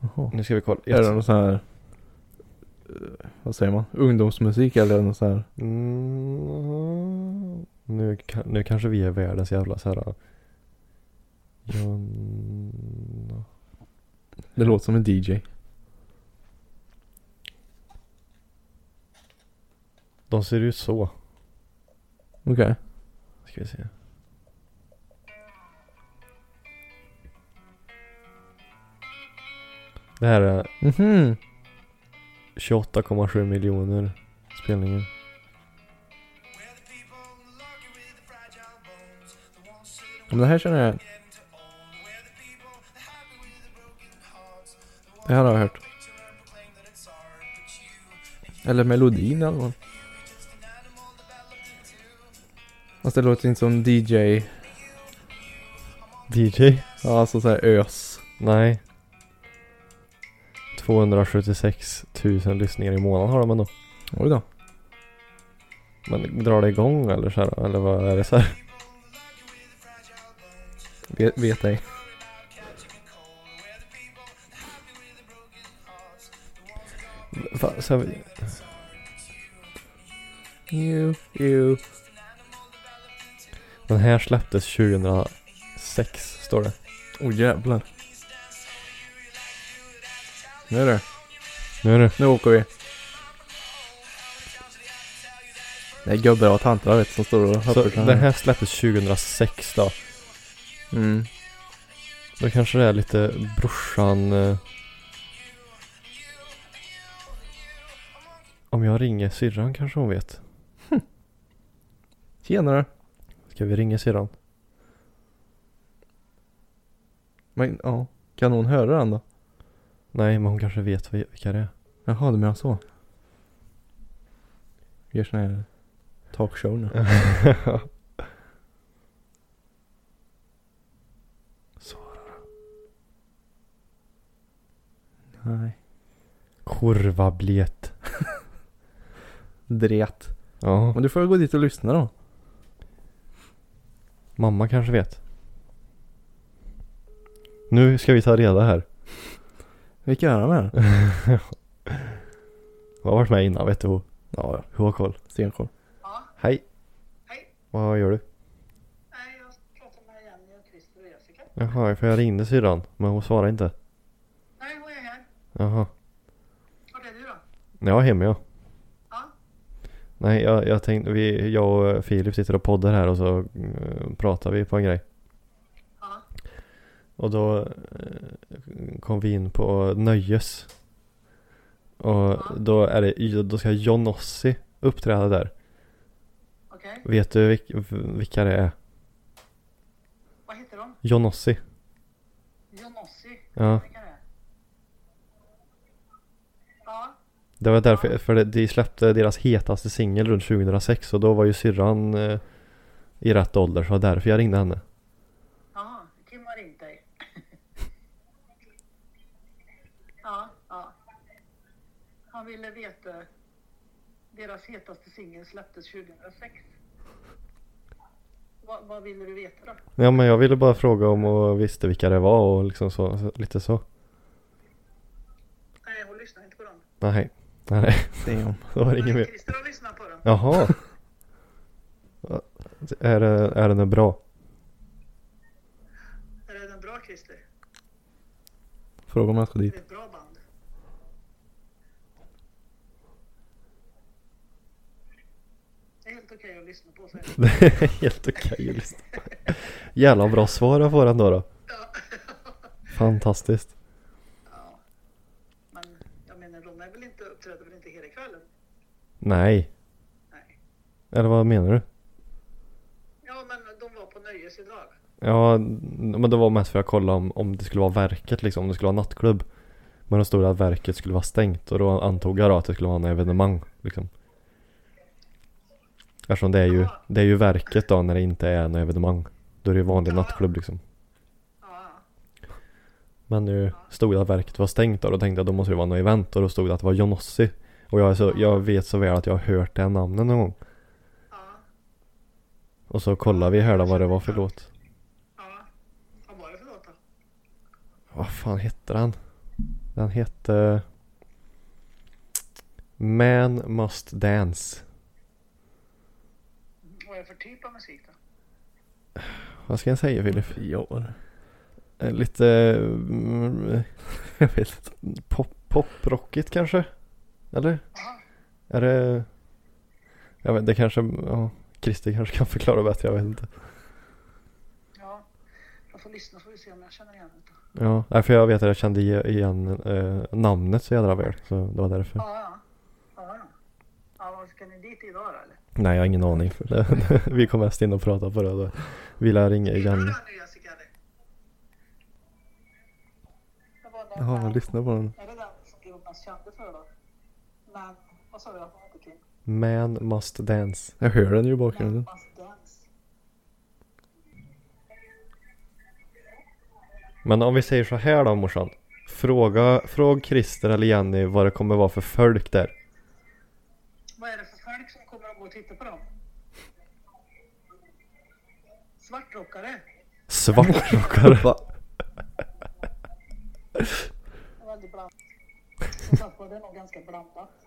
Jaha. Nu ska vi kolla. Är det någon sån här, eh, vad säger man, ungdomsmusik eller någon sån här? Mm, nu, ka- nu kanske vi är världens jävla såhär Jon... Det låter som en DJ. De ser ut så. Okej. Ska vi se. Det här är Mhm. 28,7 miljoner spelningar. Men det här känner jag igen. Det här har jag hört. Eller melodin eller vad. Fast det låter inte som DJ. DJ? Ja, alltså så här ös. Nej. 276 000 lyssningar i månaden har de ändå. Oj då. Men drar det igång eller så här, Eller vad är det så här? Vet, vet ej. Fa- så här You, you. den här släpptes 2006 står det. Åh oh, jävlar. Nu du. Nu är det. Nu åker vi. Det är gubbar och tanter vet du, som står och hoppar Så så här. den här släpptes 2006 då. Mm. Då kanske det är lite brorsan... eh. Om jag ringer syrran kanske hon vet. Tjenare. Ska vi ringa syrran? Men ja, kan hon höra den då? Nej, men hon kanske vet vi- vilka det är. Jaha, du menar så. Vi gör sån här talkshow nu. Nej. Korvablet. Dret. Ja, Men du får väl gå dit och lyssna då. mamma kanske vet. Nu ska vi ta reda här. Vilka är de här? Hon har varit med innan, vet du. Hon Ja, ja. hon har koll. Stenkoll. Ja, Hej, hej. vad gör du? Nej, jag pratar med Jenny och Christer och Jessica. Jaha, för jag ringde syrran, men hon svarade inte. Nej, hon är här. Jaha. Var är du då? Jag är hemma jag. Ja. Nej, jag, jag tänkte, vi, jag och Filip sitter och poddar här och så eh, pratar vi på en grej. Ja. Och då eh, kom vi in på Nöjes. Och då är det, då ska Jonossi uppträda där. Okej. Vet du vilk, vilka det är? Vad heter de? Jonossi. Jonossi. Ja. Vilka är det? Ja. Det var därför, för det- de släppte deras hetaste singel runt 2006 och då var ju syrran eh, i rätt ålder så det var därför jag ringde henne. Jaha, Kim har ringt dig. ja, ja. Han ville veta. Deras hetaste singel släpptes 2006. Vad- vad ville du veta då? Ja men jag ville bara fråga om och visste vilka det var och liksom så, så lite så. Nej. Nej, Damn. då var det ingen Men mer. Christer har lyssnat på den. Jaha. är, det, är den bra? Är det en bra Christer? Fråga om jag ska Är dit. det ett bra band? Det är helt okej att lyssna på säger jag. Det är helt okej att lyssna på. Jävla bra svar jag får ändå då. Ja. Fantastiskt. ja. Men jag menar, de är väl inte, uppträder väl inte hela kvällen? Nej. Nej. Eller vad menar du? Ja, men de var på nöjesidag. Ja, n- men det var mest för att kolla om, om det skulle vara verket liksom, om det skulle vara nattklubb. Men då stod det att verket skulle vara stängt och då antog jag då att det skulle vara en evenemang liksom. Eftersom det är ju, det är ju verket då när det inte är en evenemang. Då är det ju vanlig nattklubb liksom. Ja, Men nu stod det att verket var stängt då, då tänkte jag att då måste det vara något event och då stod det att det var Johnossi. Och jag, är så, jag vet så väl att jag har hört det här namnet någon gång. ja, Och så kollade vi här då vad det var för låt. ja. Vad var det för låt då? Vad fan hette den? Den hette... Man Must Dance. Vad är det för typ av musik då? Vad ska jag säga Filip? Ja. Eh, Lite... mm, Jag vet inte. Pop, poprockigt kanske? Eller? Jaha. Är det... Jag vet, det kanske... Ja, Christer kanske kan förklara bättre, jag vet inte. Ja, jag får lyssna så får vi se om jag känner igen det. Ja, nej, för jag vet att jag kände i- igen eh, namnet så jädra väl. Så det var därför. Ja, ja. Ja, ja. ja vad ska ni dit idag då eller? Nej, jag har ingen aning. vi kom mest in och pratade på det. Då. Vi lär ringa Gillar igen. du den nya cigarren? Det var den Jaha, där- lyssna på den. Är det den som blev mest kände för då? Men, vad sa du att den hette Kim? Man Must Dance. Jag hör den ju i bakgrunden. Must Dance. Men om vi säger så här då morsan. Fråga, fråga Christer eller Jenny vad det kommer vara för folk där. Vad är det för folk som kommer att gå och titta på dem? Svartrockare? Svartrockare. Det var Väldigt blandat. Som sagt var, det är nog ganska blandat.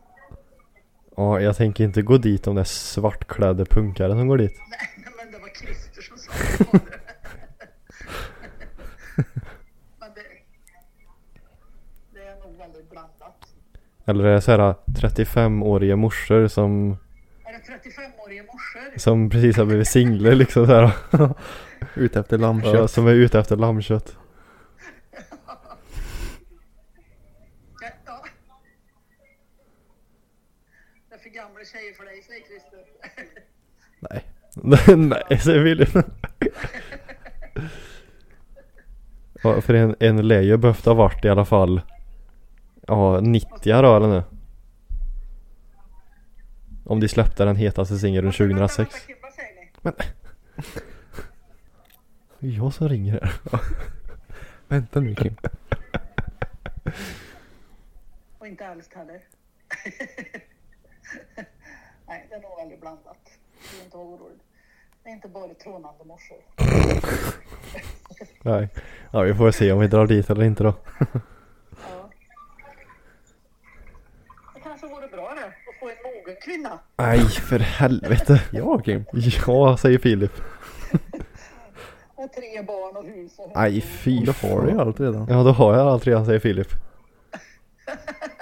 Ja, jag tänker inte gå dit om det är svartklädda punkare som går dit. Nej, men det var Christer som sa det. men det, det är nog väldigt blandat. Eller är det så här 35-åriga morsor som, Är det 35-åriga morsor? som precis har blivit singlar liksom så här. Ute efter Ja, lammkött. som är ute efter lammkött. Ja, ja. Det är för gamla tjejer för dig, säger Christer. Nej. Nej, säger Filip. ja, för en, en lär ju behövt ha varit i alla fall. Ja, 90 då eller nu. Om de släppte den hetaste singeln Vänta, vänta, 2006. vänta, Kim, vad säger ni? Det är Jag som ringer här. Vänta nu Kim. Och inte alls heller. Nej, det är nog väldigt blandat. Du är inte orolig. Det är inte bara trånande morsor. Nej. Ja, vi får väl se om vi drar dit eller inte då. Ja. Det kanske vore bra det, att få en mogen kvinna. Nej, för helvete. Ja Kim. Ja, säger Filip. Med tre barn och hus och Nej, fy Då har du ju allt redan. Ja, då har jag allt redan, säger Filip.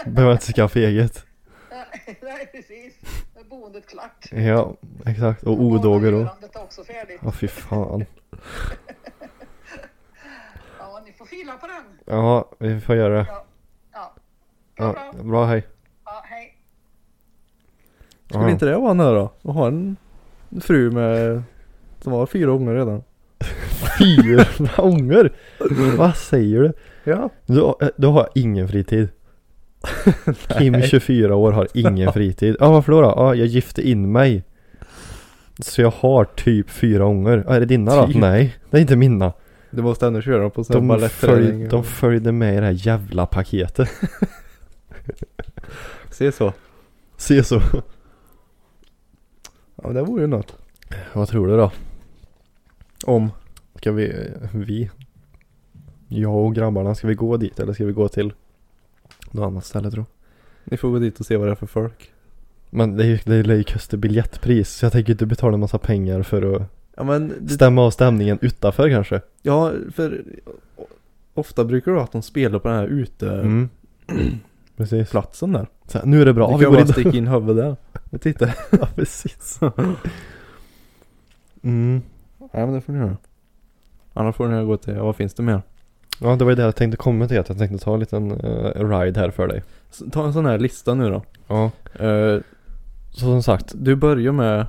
Behöver inte skaffa eget. Nej, precis. Med boendet klart. Ja, exakt. Och odågor då. Avgörandet är också färdigt. Ja, fy fan. Ja, ni får fila på den. Ja, vi får göra det. Ja, ja. Ja, bra, hej. ja hej. Skulle Ja. inte det vara nu då? Och ha en fru med som har fyra ungar redan. Fyra ånger? Vad säger du? Ja. Du, eh, du har ingen fritid. Kim 24 år har ingen fritid. Ja varför då? då? Ja, jag gifte in mig. Så jag har typ fyra ånger. Ja, är det dina då? Typ. Nej, det är inte mina. Du måste ändå köra på sån De, följ, balettträning. de följde med i det här jävla paketet. Se så. Se så. Ja men det vore ju något. Vad tror du då? Om. Ska vi, vi, jag och grabbarna, ska vi gå dit eller ska vi gå till något annat ställe tror du? Ni får gå dit och se vad det är för folk. Men det är ju- det lär ju kosta biljettpris så jag tänker inte betala en massa pengar för att Ja men, det, stämma av stämningen utanför kanske. ja för ofta brukar det vara att de spelar på den här Mm. Precis. uteplatsen där. Så här, nu är det bra, Ja, vi vi går bara in. sticka in huvudet där. Och titta. ja, precis. Mm. Ja men det får ni göra. Annars får ni gå till, vad finns det mer? Ja, det var ju det jag tänkte komma till, att jag tänkte ta en liten eh, ride här för dig. S- Ta en sån här lista nu då. Ja. Eh, Så som sagt, du börjar med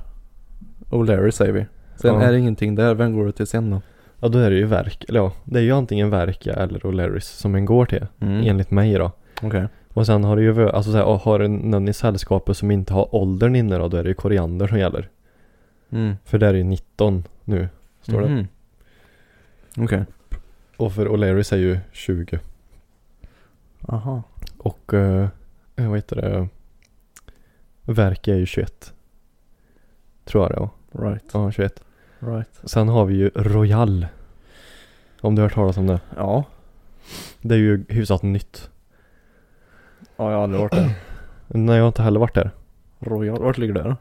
O'Leary säger vi. Sen Ja. är det ingenting där, vem går du till sen då? ja då är det ju verk, eller ja, det är ju antingen Verka eller O'Learys som en går till, Mm. enligt mig då. Okej. Och sen har det ju, vö- alltså så här, ja, har en- någon i sällskapet som inte har åldern inne då, då är det ju koriander som gäller. Mm. För där är ju 19 nu, står det. Mhm. Okej. Och för O'Learys är ju 20. Aha. Och, eh, vad heter det, Verka är ju 21. Tror jag det var. Right. Ja, 21. Right. Sen har vi ju Royal. Om du har hört talas om det. Ja. Det är ju hyfsat nytt. Ja, jag har aldrig varit där. Nej, jag har inte heller varit där. Royal, vart ligger det då?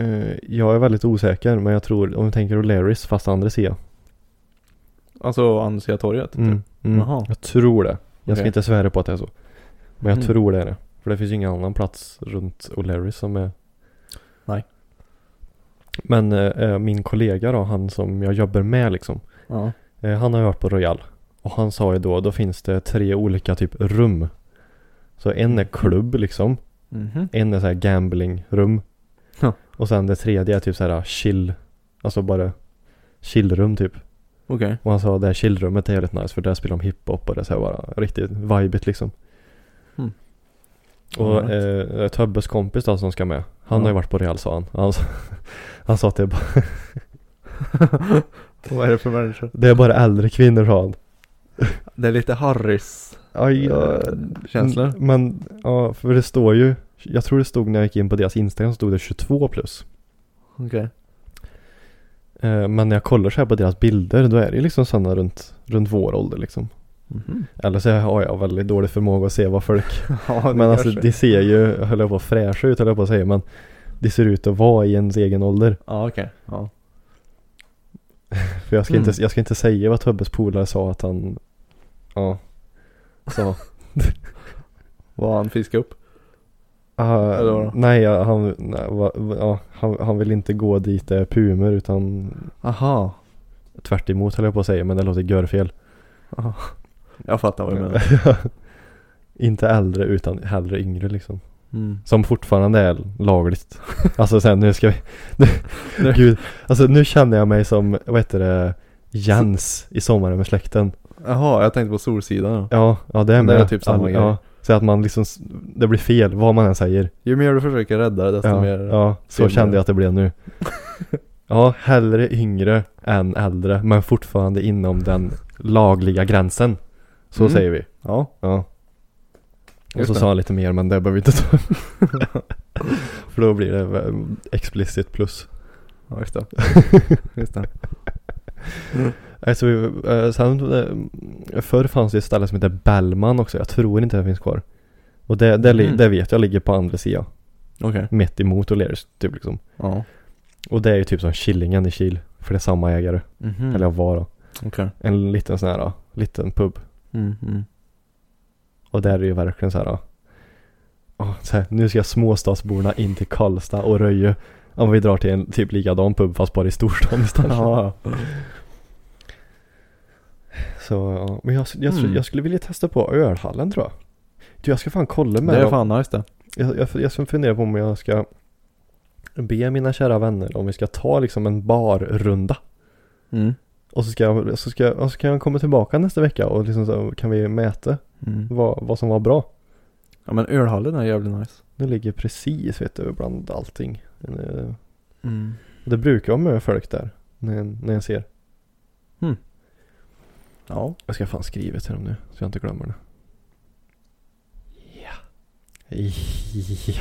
Eh, jag är väldigt osäker, men jag tror, om vi tänker O'Learys, fast andra sidan. Alltså andra sidan torget? Mm. Typ. Mm. Jaha. Jag tror det. Jag ska Okej. inte svära på att det är så. Men jag Mm. tror det är det. För det finns ju ingen annan plats runt O'Learys som är... Nej. Men eh, eh, min kollega då, han som jag jobbar med liksom. Ja. Eh, Han har ju varit på Royal och han sa ju då, då finns det tre olika typ rum. Så en är klubb liksom, Mhm. en är så här gamblingrum. Ja. Och sen det tredje är typ så här chill, alltså bara chillrum typ. Okej. Och han sa det här chillrummet är jävligt nice för där spelar de hiphop och det är så här bara riktigt vibigt liksom. Mm. Och Alright. eh, Többes kompis då som ska med, han Ja. har ju varit på Royal sa han. Han, sa- han sa att det är, bara, Vad är det för människor? det är bara äldre kvinnor sa han. Det är lite Harris Aj, eh, känslor. Mm, Men ja, för det står ju, jag tror det stod när jag gick in på deras Instagram så stod det 22 plus. Okej. Eh, men när jag kollar så här på deras bilder då är det ju liksom sådana runt, runt vår ålder liksom. Mhm. Eller så har jag väldigt dålig förmåga att se vad folk, Ja, det men alltså kanske- de ser ju, jag höll jag på att fräscha ut höll jag på att säga, men de ser ut att vara i ens egen ålder. Ja, okej. Ja. För jag ska, Mm. inte, jag ska inte säga vad Tubbes polare sa att han, ja, sa. Vad han fiskar upp? Ah, Eller vadå? nej, ja, han, nej, va, va, ja, han, han vill inte gå dit det är pumer utan Aha. tvärt emot höll jag på att säga men det låter görfel. Aha. Jag fattar vad du menar. Inte äldre utan hellre yngre liksom. Mm. Som fortfarande är lagligt. Alltså sen nu ska vi... Nu, gud, alltså nu känner jag mig som, vad heter det, Jens i Sommaren med släkten. Jaha, jag tänkte på Solsidan då. Ja, ja det är Det med. är typ samma grej. ja, Så att man liksom, s- det blir fel vad man än säger. Ju mer du försöker rädda det desto Ja, mer. ja så fel kände blir jag att det blev nu. Ja, hellre yngre än äldre men fortfarande inom den lagliga gränsen. Så Mm. säger vi. ja. Ja. Och Just så det. sa han lite mer men det behöver vi inte ta. För då blir det eh, explicit plus. Ja, just det. just det. Alltså, vi, eh, sen, eh, förr fanns det ett ställe som heter Bellman också. Jag tror inte det finns kvar. Och det, det, li- Mm. det vet jag ligger på andra sidan. Okej. Mitt emot O'Learys typ liksom. Ja. Och det är ju typ som Killingen i Kil. För det är samma ägare. Mhm. Eller var då. Okej. En liten sån här ja, liten pub. Mm, mm. Och där är det ju verkligen så här. ja. Åh, så här nu ska småstadsborna in till Karlstad och Röje. Om vi drar till en typ likadan pub fast bara i storstan istället. Ja. Så ja, men jag, jag, Mm. jag skulle vilja testa på ölhallen tror jag. Du jag ska fan kolla med Det är dem. fan nice det. Jag, jag, jag ska fundera på om jag ska be mina kära vänner om vi ska ta liksom en barrunda. Mm. Och så ska jag, så ska jag, och så kan jag komma tillbaka nästa vecka och liksom så kan vi mäta Mm. vad, vad som var bra. Ja men ölhallen är jävligt nice. Nu ligger precis vet du bland allting. Eh, Mm. Det brukar vara med folk där när, när jag ser. Ja. Jag ska fan skriva till dem nu så jag inte glömmer det. Ja. Ja.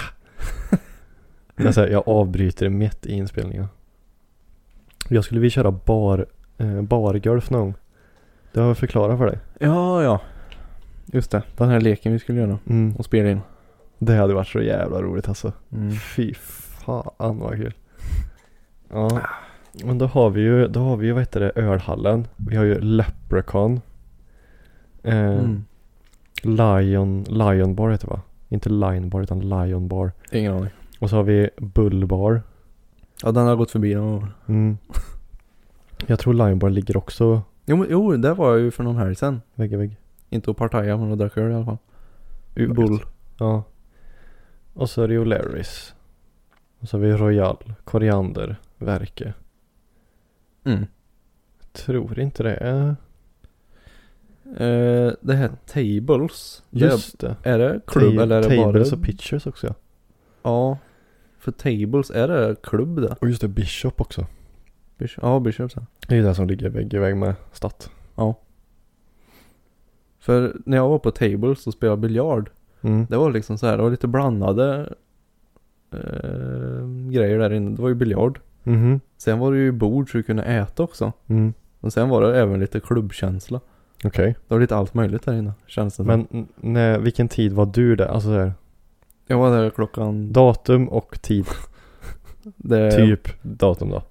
Men så här, jag avbryter mitt i inspelningen. Jag skulle vilja köra bar, eh, bargolf någon gång. Det har jag förklarat för dig. Ja, ja. Just det, den här leken vi skulle göra Mm. och spela in. Det hade varit så jävla roligt alltså. Mm. Fy fan vad kul. Ja. Men då har vi ju, då har vi ju vad heter det, ölhallen. Vi har ju Leprechaun. Eh, Mm. Lion, Lion Bar heter det va? Inte Lion Bar utan Lion Bar. Ingen aning. Och så har vi Bull Bar. Ja, den har gått förbi någon gång. Mm. Jag tror Lion Bar ligger också Jo, men- jo, där var jag ju för någon helg sen. vägg i vägg. Inte att partaja men jag drack öl i alla fall. Ur- Bull. Ja. Och så är det ju O'Learys. Och så har vi Royal, Koriander, Verke. Mm. Tror inte det är... Eh, det här Tables. Just det. Det är, är det klubb Ta- eller är det bara... Tables och Pictures också ja. Ja. För Tables, är det klubb det? Och just det, Bishop också. Bish- Ja, Bishops ja. Det är ju den som ligger vägg i vägg med Statt. För när jag var på Tables och spelade biljard. Mm. Det var liksom så här, det var lite blandade eh, grejer där inne. Det var ju biljard. Mhm. Sen var det ju bord så du kunde äta också. Mm. Men sen var det även lite klubbkänsla. Okej. Det var lite allt möjligt där inne känns det som. Men n- när, vilken tid var du där? Alltså där, Jag var där klockan... datum och tid. det, Typ datum då.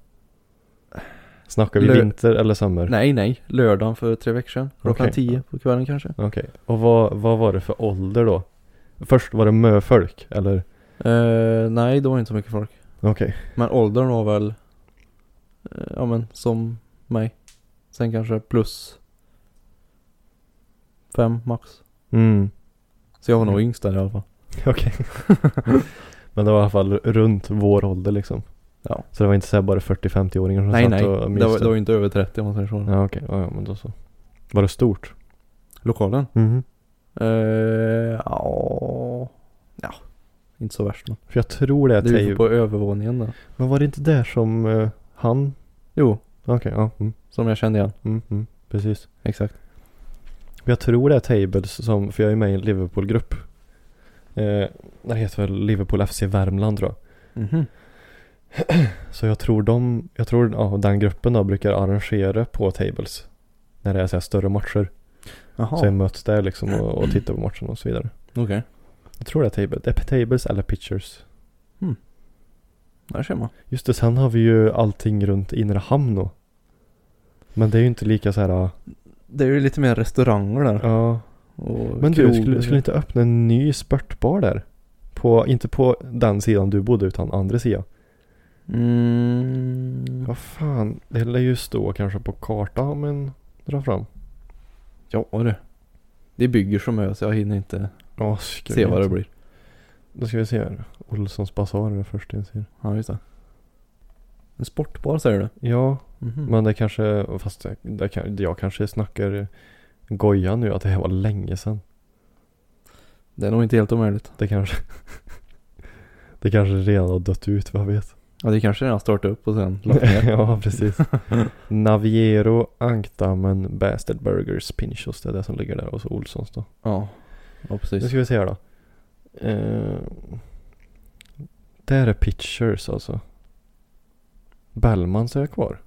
Snackar vi Lö- vinter eller sommar? Nej, nej. Lördagen för tre veckor sedan. Klockan Okej. tio på kvällen kanske. Okej. Och vad, vad var det för ålder då? Först var det möfolk eller? Eh, nej, det var inte så mycket folk. Okej. Men åldern var väl... eh, ja, men som mig. Sen kanske plus... Fem max. Mm. Så jag var nog Mm. yngst där i alla fall. Okej. Men det var i alla fall runt vår ålder liksom. Ja. Så det var inte så här bara 40-50-åringar som nej, satt nej. Det och var, myste? det var inte över 30 om man säger så. Ja okej, ja, ja, men då så. Var det stort? Lokalen? Mhm. Eh, ja... Ja. Inte så värst men. För jag tror det är Du är ju Tave. på övervåningen där. Men var det inte där som eh, han? Jo, Okej, ja. Mm, som jag kände igen. mm, mm, precis. Exakt. Jag tror det är Tables som, för jag är med i en Liverpool-grupp. Eh, den heter väl Liverpool FC Värmland tror jag. Mhm. Så jag tror de, jag tror ja, den gruppen då brukar arrangera på Tables. När det är så här större matcher. Jaha, Så jag okej. möts där liksom och, och tittar på matchen och så vidare. Jag tror det är Tables, det är Tables eller Pictures. Där ser man. Just det, sen har vi ju allting runt inre hamn då. Men det är ju inte lika så här, ah. ja. Det är ju lite mer restauranger där. ja. Och Men du, krogar. skulle, skulle inte öppna en ny spurtbar där? På, inte på den sidan du bodde utan andra sidan. Mm, Vad fan, det lär ju stå kanske på kartan men dra fram. ja du. Det bygger som ö så jag hinner inte Ja, ska se vi- vad det blir. Då ska vi se här. Olssons basar är det första jag ser. Ja just det. En sportbar säger du? Ja, Mhm. men det kanske, fast det, det, kan- jag kanske snackar goja nu att det här var länge sedan. Det är nog inte helt omöjligt. Det kanske, det kanske redan har dött ut, vad vet. Ja det kanske redan startade upp och sen lagt ner. ja, precis. Naviero, Ankdammen, Bastard Burgers, Pinchos, det är det som ligger där. Och så Olssons då. ja. ja Nu precis. ska vi se här då. Eh, där är Pictures alltså. Bellmans är kvar.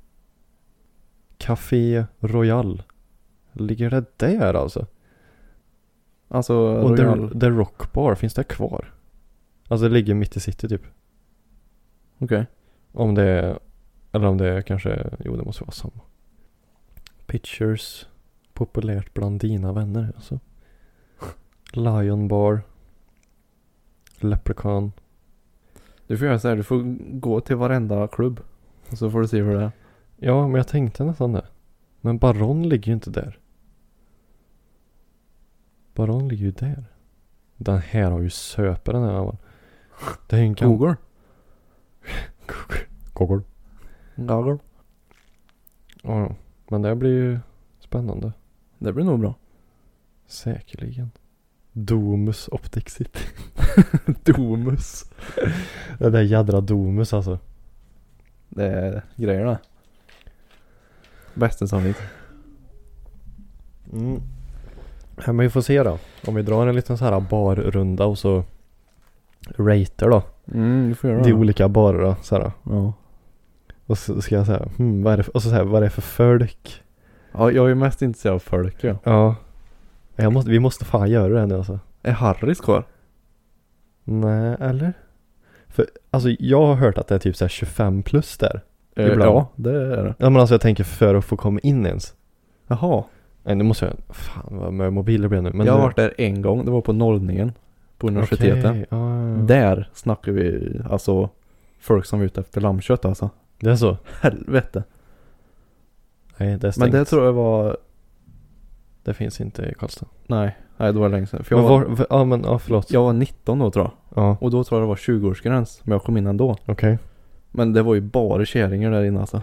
Café Royal. Ligger det där alltså? Alltså Och Royal. The, The Rock Bar, finns det kvar? Alltså det ligger mitt i city typ. Okej. Om det är, eller om det är kanske, jo det måste vara samma. Pictures, populärt bland dina vänner alltså. Lion Bar. Leprechaun. Du får göra så här. Du får gå till varenda klubb. Och så får du se hur det är. Ja, men jag tänkte nästan det. Men Baron ligger ju inte där. Baron ligger ju där. Den här har ju söpare den här man. Det är ju en gammal... Google. Gogol. Google. Ja, ja. men det här blir ju spännande. Det blir nog bra. Säkerligen. Domus Optic City. Domus. Det där jädra Domus alltså. Det är grejer det. Bästa sannolikt. Mm. Ja, men vi får se då. Om vi drar en liten så här barrunda och så rater då. Mm, du får göra De olika barer då. Så här. Ja. Och så ska jag säga, hmm, vad är det för, och så säga, vad är det för folk? ja, jag är mest intresserad av folk ja. Ja. Jag måste, vi måste fan göra det här nu alltså. Är Harris kvar? Nej, eller? För alltså jag har hört att det är typ så här 25 plus där. Eh, Ibland. Ja, det är det. Ja men alltså jag tänker för att få komma in ens. Jaha. Nej nu måste jag, fan vad med mobiler blev nu. Men jag har nu, varit där en gång, det var på nollningen. På universitetet. Okej, ja, ja, ja. Där snackar vi alltså folk som är ute efter lammkött alltså. Det är så? Helvete. Nej det är Men stängt. det tror jag var, Det finns inte i Karlstad. nej, nej det var länge sedan. För jag, Men var, var, var, ja men ja förlåt. jag var 19 då tror jag. Ja, Och då tror jag det var 20-årsgräns, men jag kom in ändå. okej. Men det var ju bara käringar där inne alltså.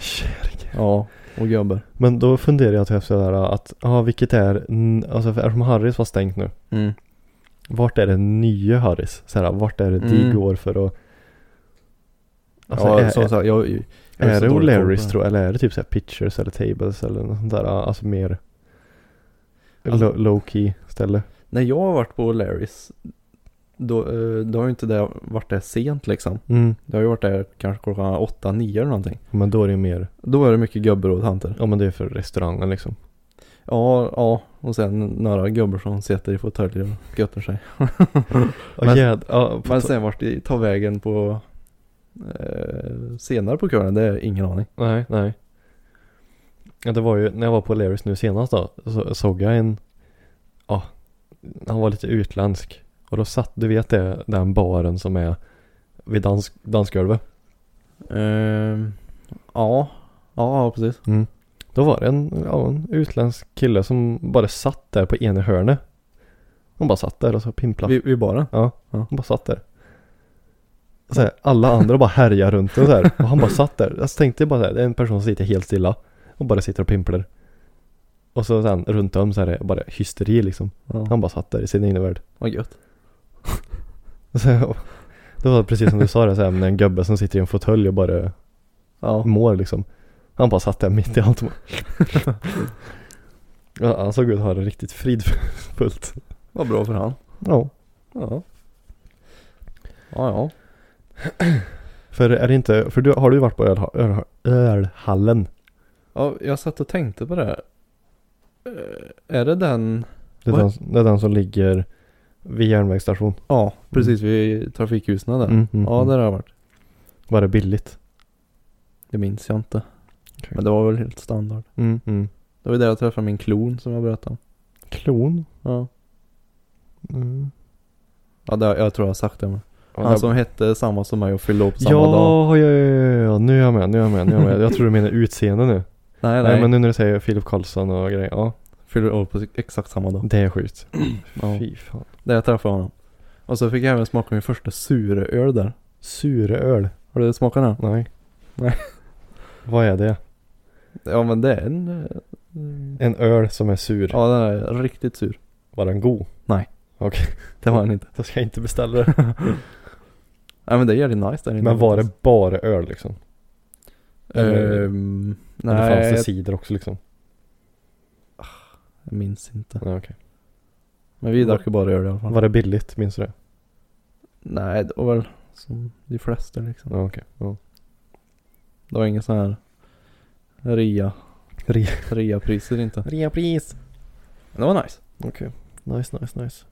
Ja, och gubbar. Men då funderar jag typ sådär att, ja vilket är, n- alltså för- eftersom Harris var stängt nu. Mm. Vart är det nya Harris? Såhär, vart är det de Mm. går för att Alltså, ja, är- som sagt, jag, jag, jag Är så det dålig koll på O'Learys tror jag, eller är det typ såhär pictures eller tables eller något sånt där, alltså mer Alltså- lo- low key ställe? När jag har varit på O'Learys, då, eh, då har ju inte det varit där sent liksom. Mm. Det har ju varit där kanske klockan 8-9 eller någonting. Men då är det mer, Då är det mycket gubbar och tanter. ja men det är för restaurangen liksom. Ja, ja, och sen några gubbar som sitter i fåtöljer och göttar sig. Ja, Men- jäd- ja, på Men to- sen vart det tar vägen på eh, senare på kvällen, det är ingen aning. Nej, nej. Ja, det var ju, när jag var på O'Learys nu senast då, så såg jag en, ja, han var lite utländsk. Och då satt, du vet det, den baren som är vid dans, dansgolvet. Ehm, ja, ja ja, precis. Då var det en, ja, en utländsk kille som bara satt där på ena hörnet. Hon bara satt där och så pimplade. Vi, vi bara. Ja, Ja. hon bara satt där. Så här, alla andra bara härjar runt och så här. Och han bara satt där. Jag tänkte bara så här, det är en person som sitter helt stilla. Och bara sitter och pimplar. Och så sen runt om så här är det bara hysteri liksom. Ja. Han bara satt där i sin egen värld. Vad gött. Och Så, här, och det var precis som du sa det så här, med en gubbe som sitter i en fåtölj och bara Ja. mår liksom. Han bara satt där mitt i allt. och bara- ja, han såg ut att ha det riktigt fridfullt. Vad bra för han. Ja. Ja. Ja, ja. För är det inte, för du, har du varit på ölha, ölha, ölhallen? ja jag satt och tänkte på det. här. Eh, är det den? Det är, Vad? den, det är den som ligger vid järnvägsstation. Ja, precis vid trafikhusen där. Mm, mm, Ja, mm. där har jag varit. Var det billigt? Det minns jag inte. Okej. Men det var väl helt standard. Mm, mm. Det var ju där jag träffade min klon som jag berättade om. Klon? Ja. Mm. Ja, det, jag tror jag har sagt det men. Ja, Han det- som hette samma som mig och fyllde upp samma ja, dag. ja, ja, ja, ja, nu är jag med, nu är jag med, nu är jag med. Jag tror du menar utseende nu. Nej, Nej, nej. men nu när du säger Filip Karlsson och grejer, ja. Fyllde upp på exakt samma dag. Det är sjukt. Ja. Fy fan. Där jag träffade honom. Och så fick jag även smaka min första suröl där. Suröl? Har du smakat den? Nej. Nej. Vad är det? Ja men det är en... eh, En öl som är sur. Ja den är riktigt sur. Var den god? Det var den inte. Då ska jag inte beställa det. Nej men det är jävligt nice där inne. Men var det bara öl liksom? Ehm, Eller fanns nej, det jag cider också liksom? minns inte. Nej, okej. Men vi drack ju bara öl i alla fall. Var det billigt? Minns du det? Nej det var väl som de flesta liksom. Ja, okej. Ja. Det var ingen sån här rea. Rea. Reapriser inte. Reapris! Men det var nice. Okej. Nice, nice, nice.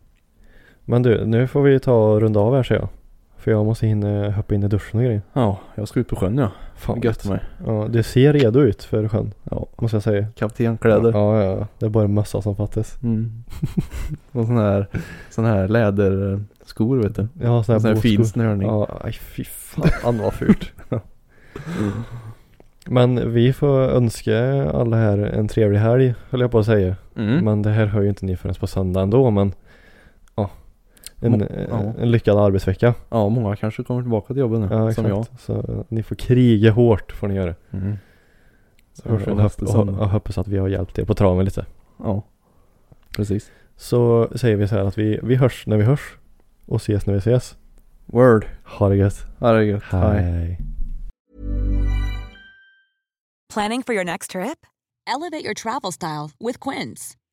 Men du, nu får vi ta och runda av här ser jag. För jag måste hinna hoppa in i duschen och grejer. Ja, jag ska ut på sjön ja. Fan. Gött mig. Ja, du ser redo ut för sjön. Ja. Måste jag säga. Kaptenkläder. Ja, ja, ja. Det är bara en mössa som fattas. Mm. och sån här, sån här läderskor vet du. Ja, sån Sån här här fin båtskor. snörning. Ja, aj, fy fan vad fult. Men vi får önska alla här en trevlig helg, höll jag på att säga. Mm. Men det här hör ju inte ni förrän på söndag ändå, men ja. En, eh, Må- ja. en lyckad arbetsvecka. Ja, många kanske kommer tillbaka till jobbet nu. Ja, som exakt. jag. Så eh, ni får kriga hårt får ni göra. Mm. Så hörs vi Och, nästa hoppas, och, söndag. och hoppas att vi har hjälpt er på traven lite. Ja, precis. Så säger vi så här att vi, vi hörs när vi hörs och ses när vi ses. Word. Ha det gött. Ha det gött. Hej. Planning for your next trip? Elevate your travel style with Quince.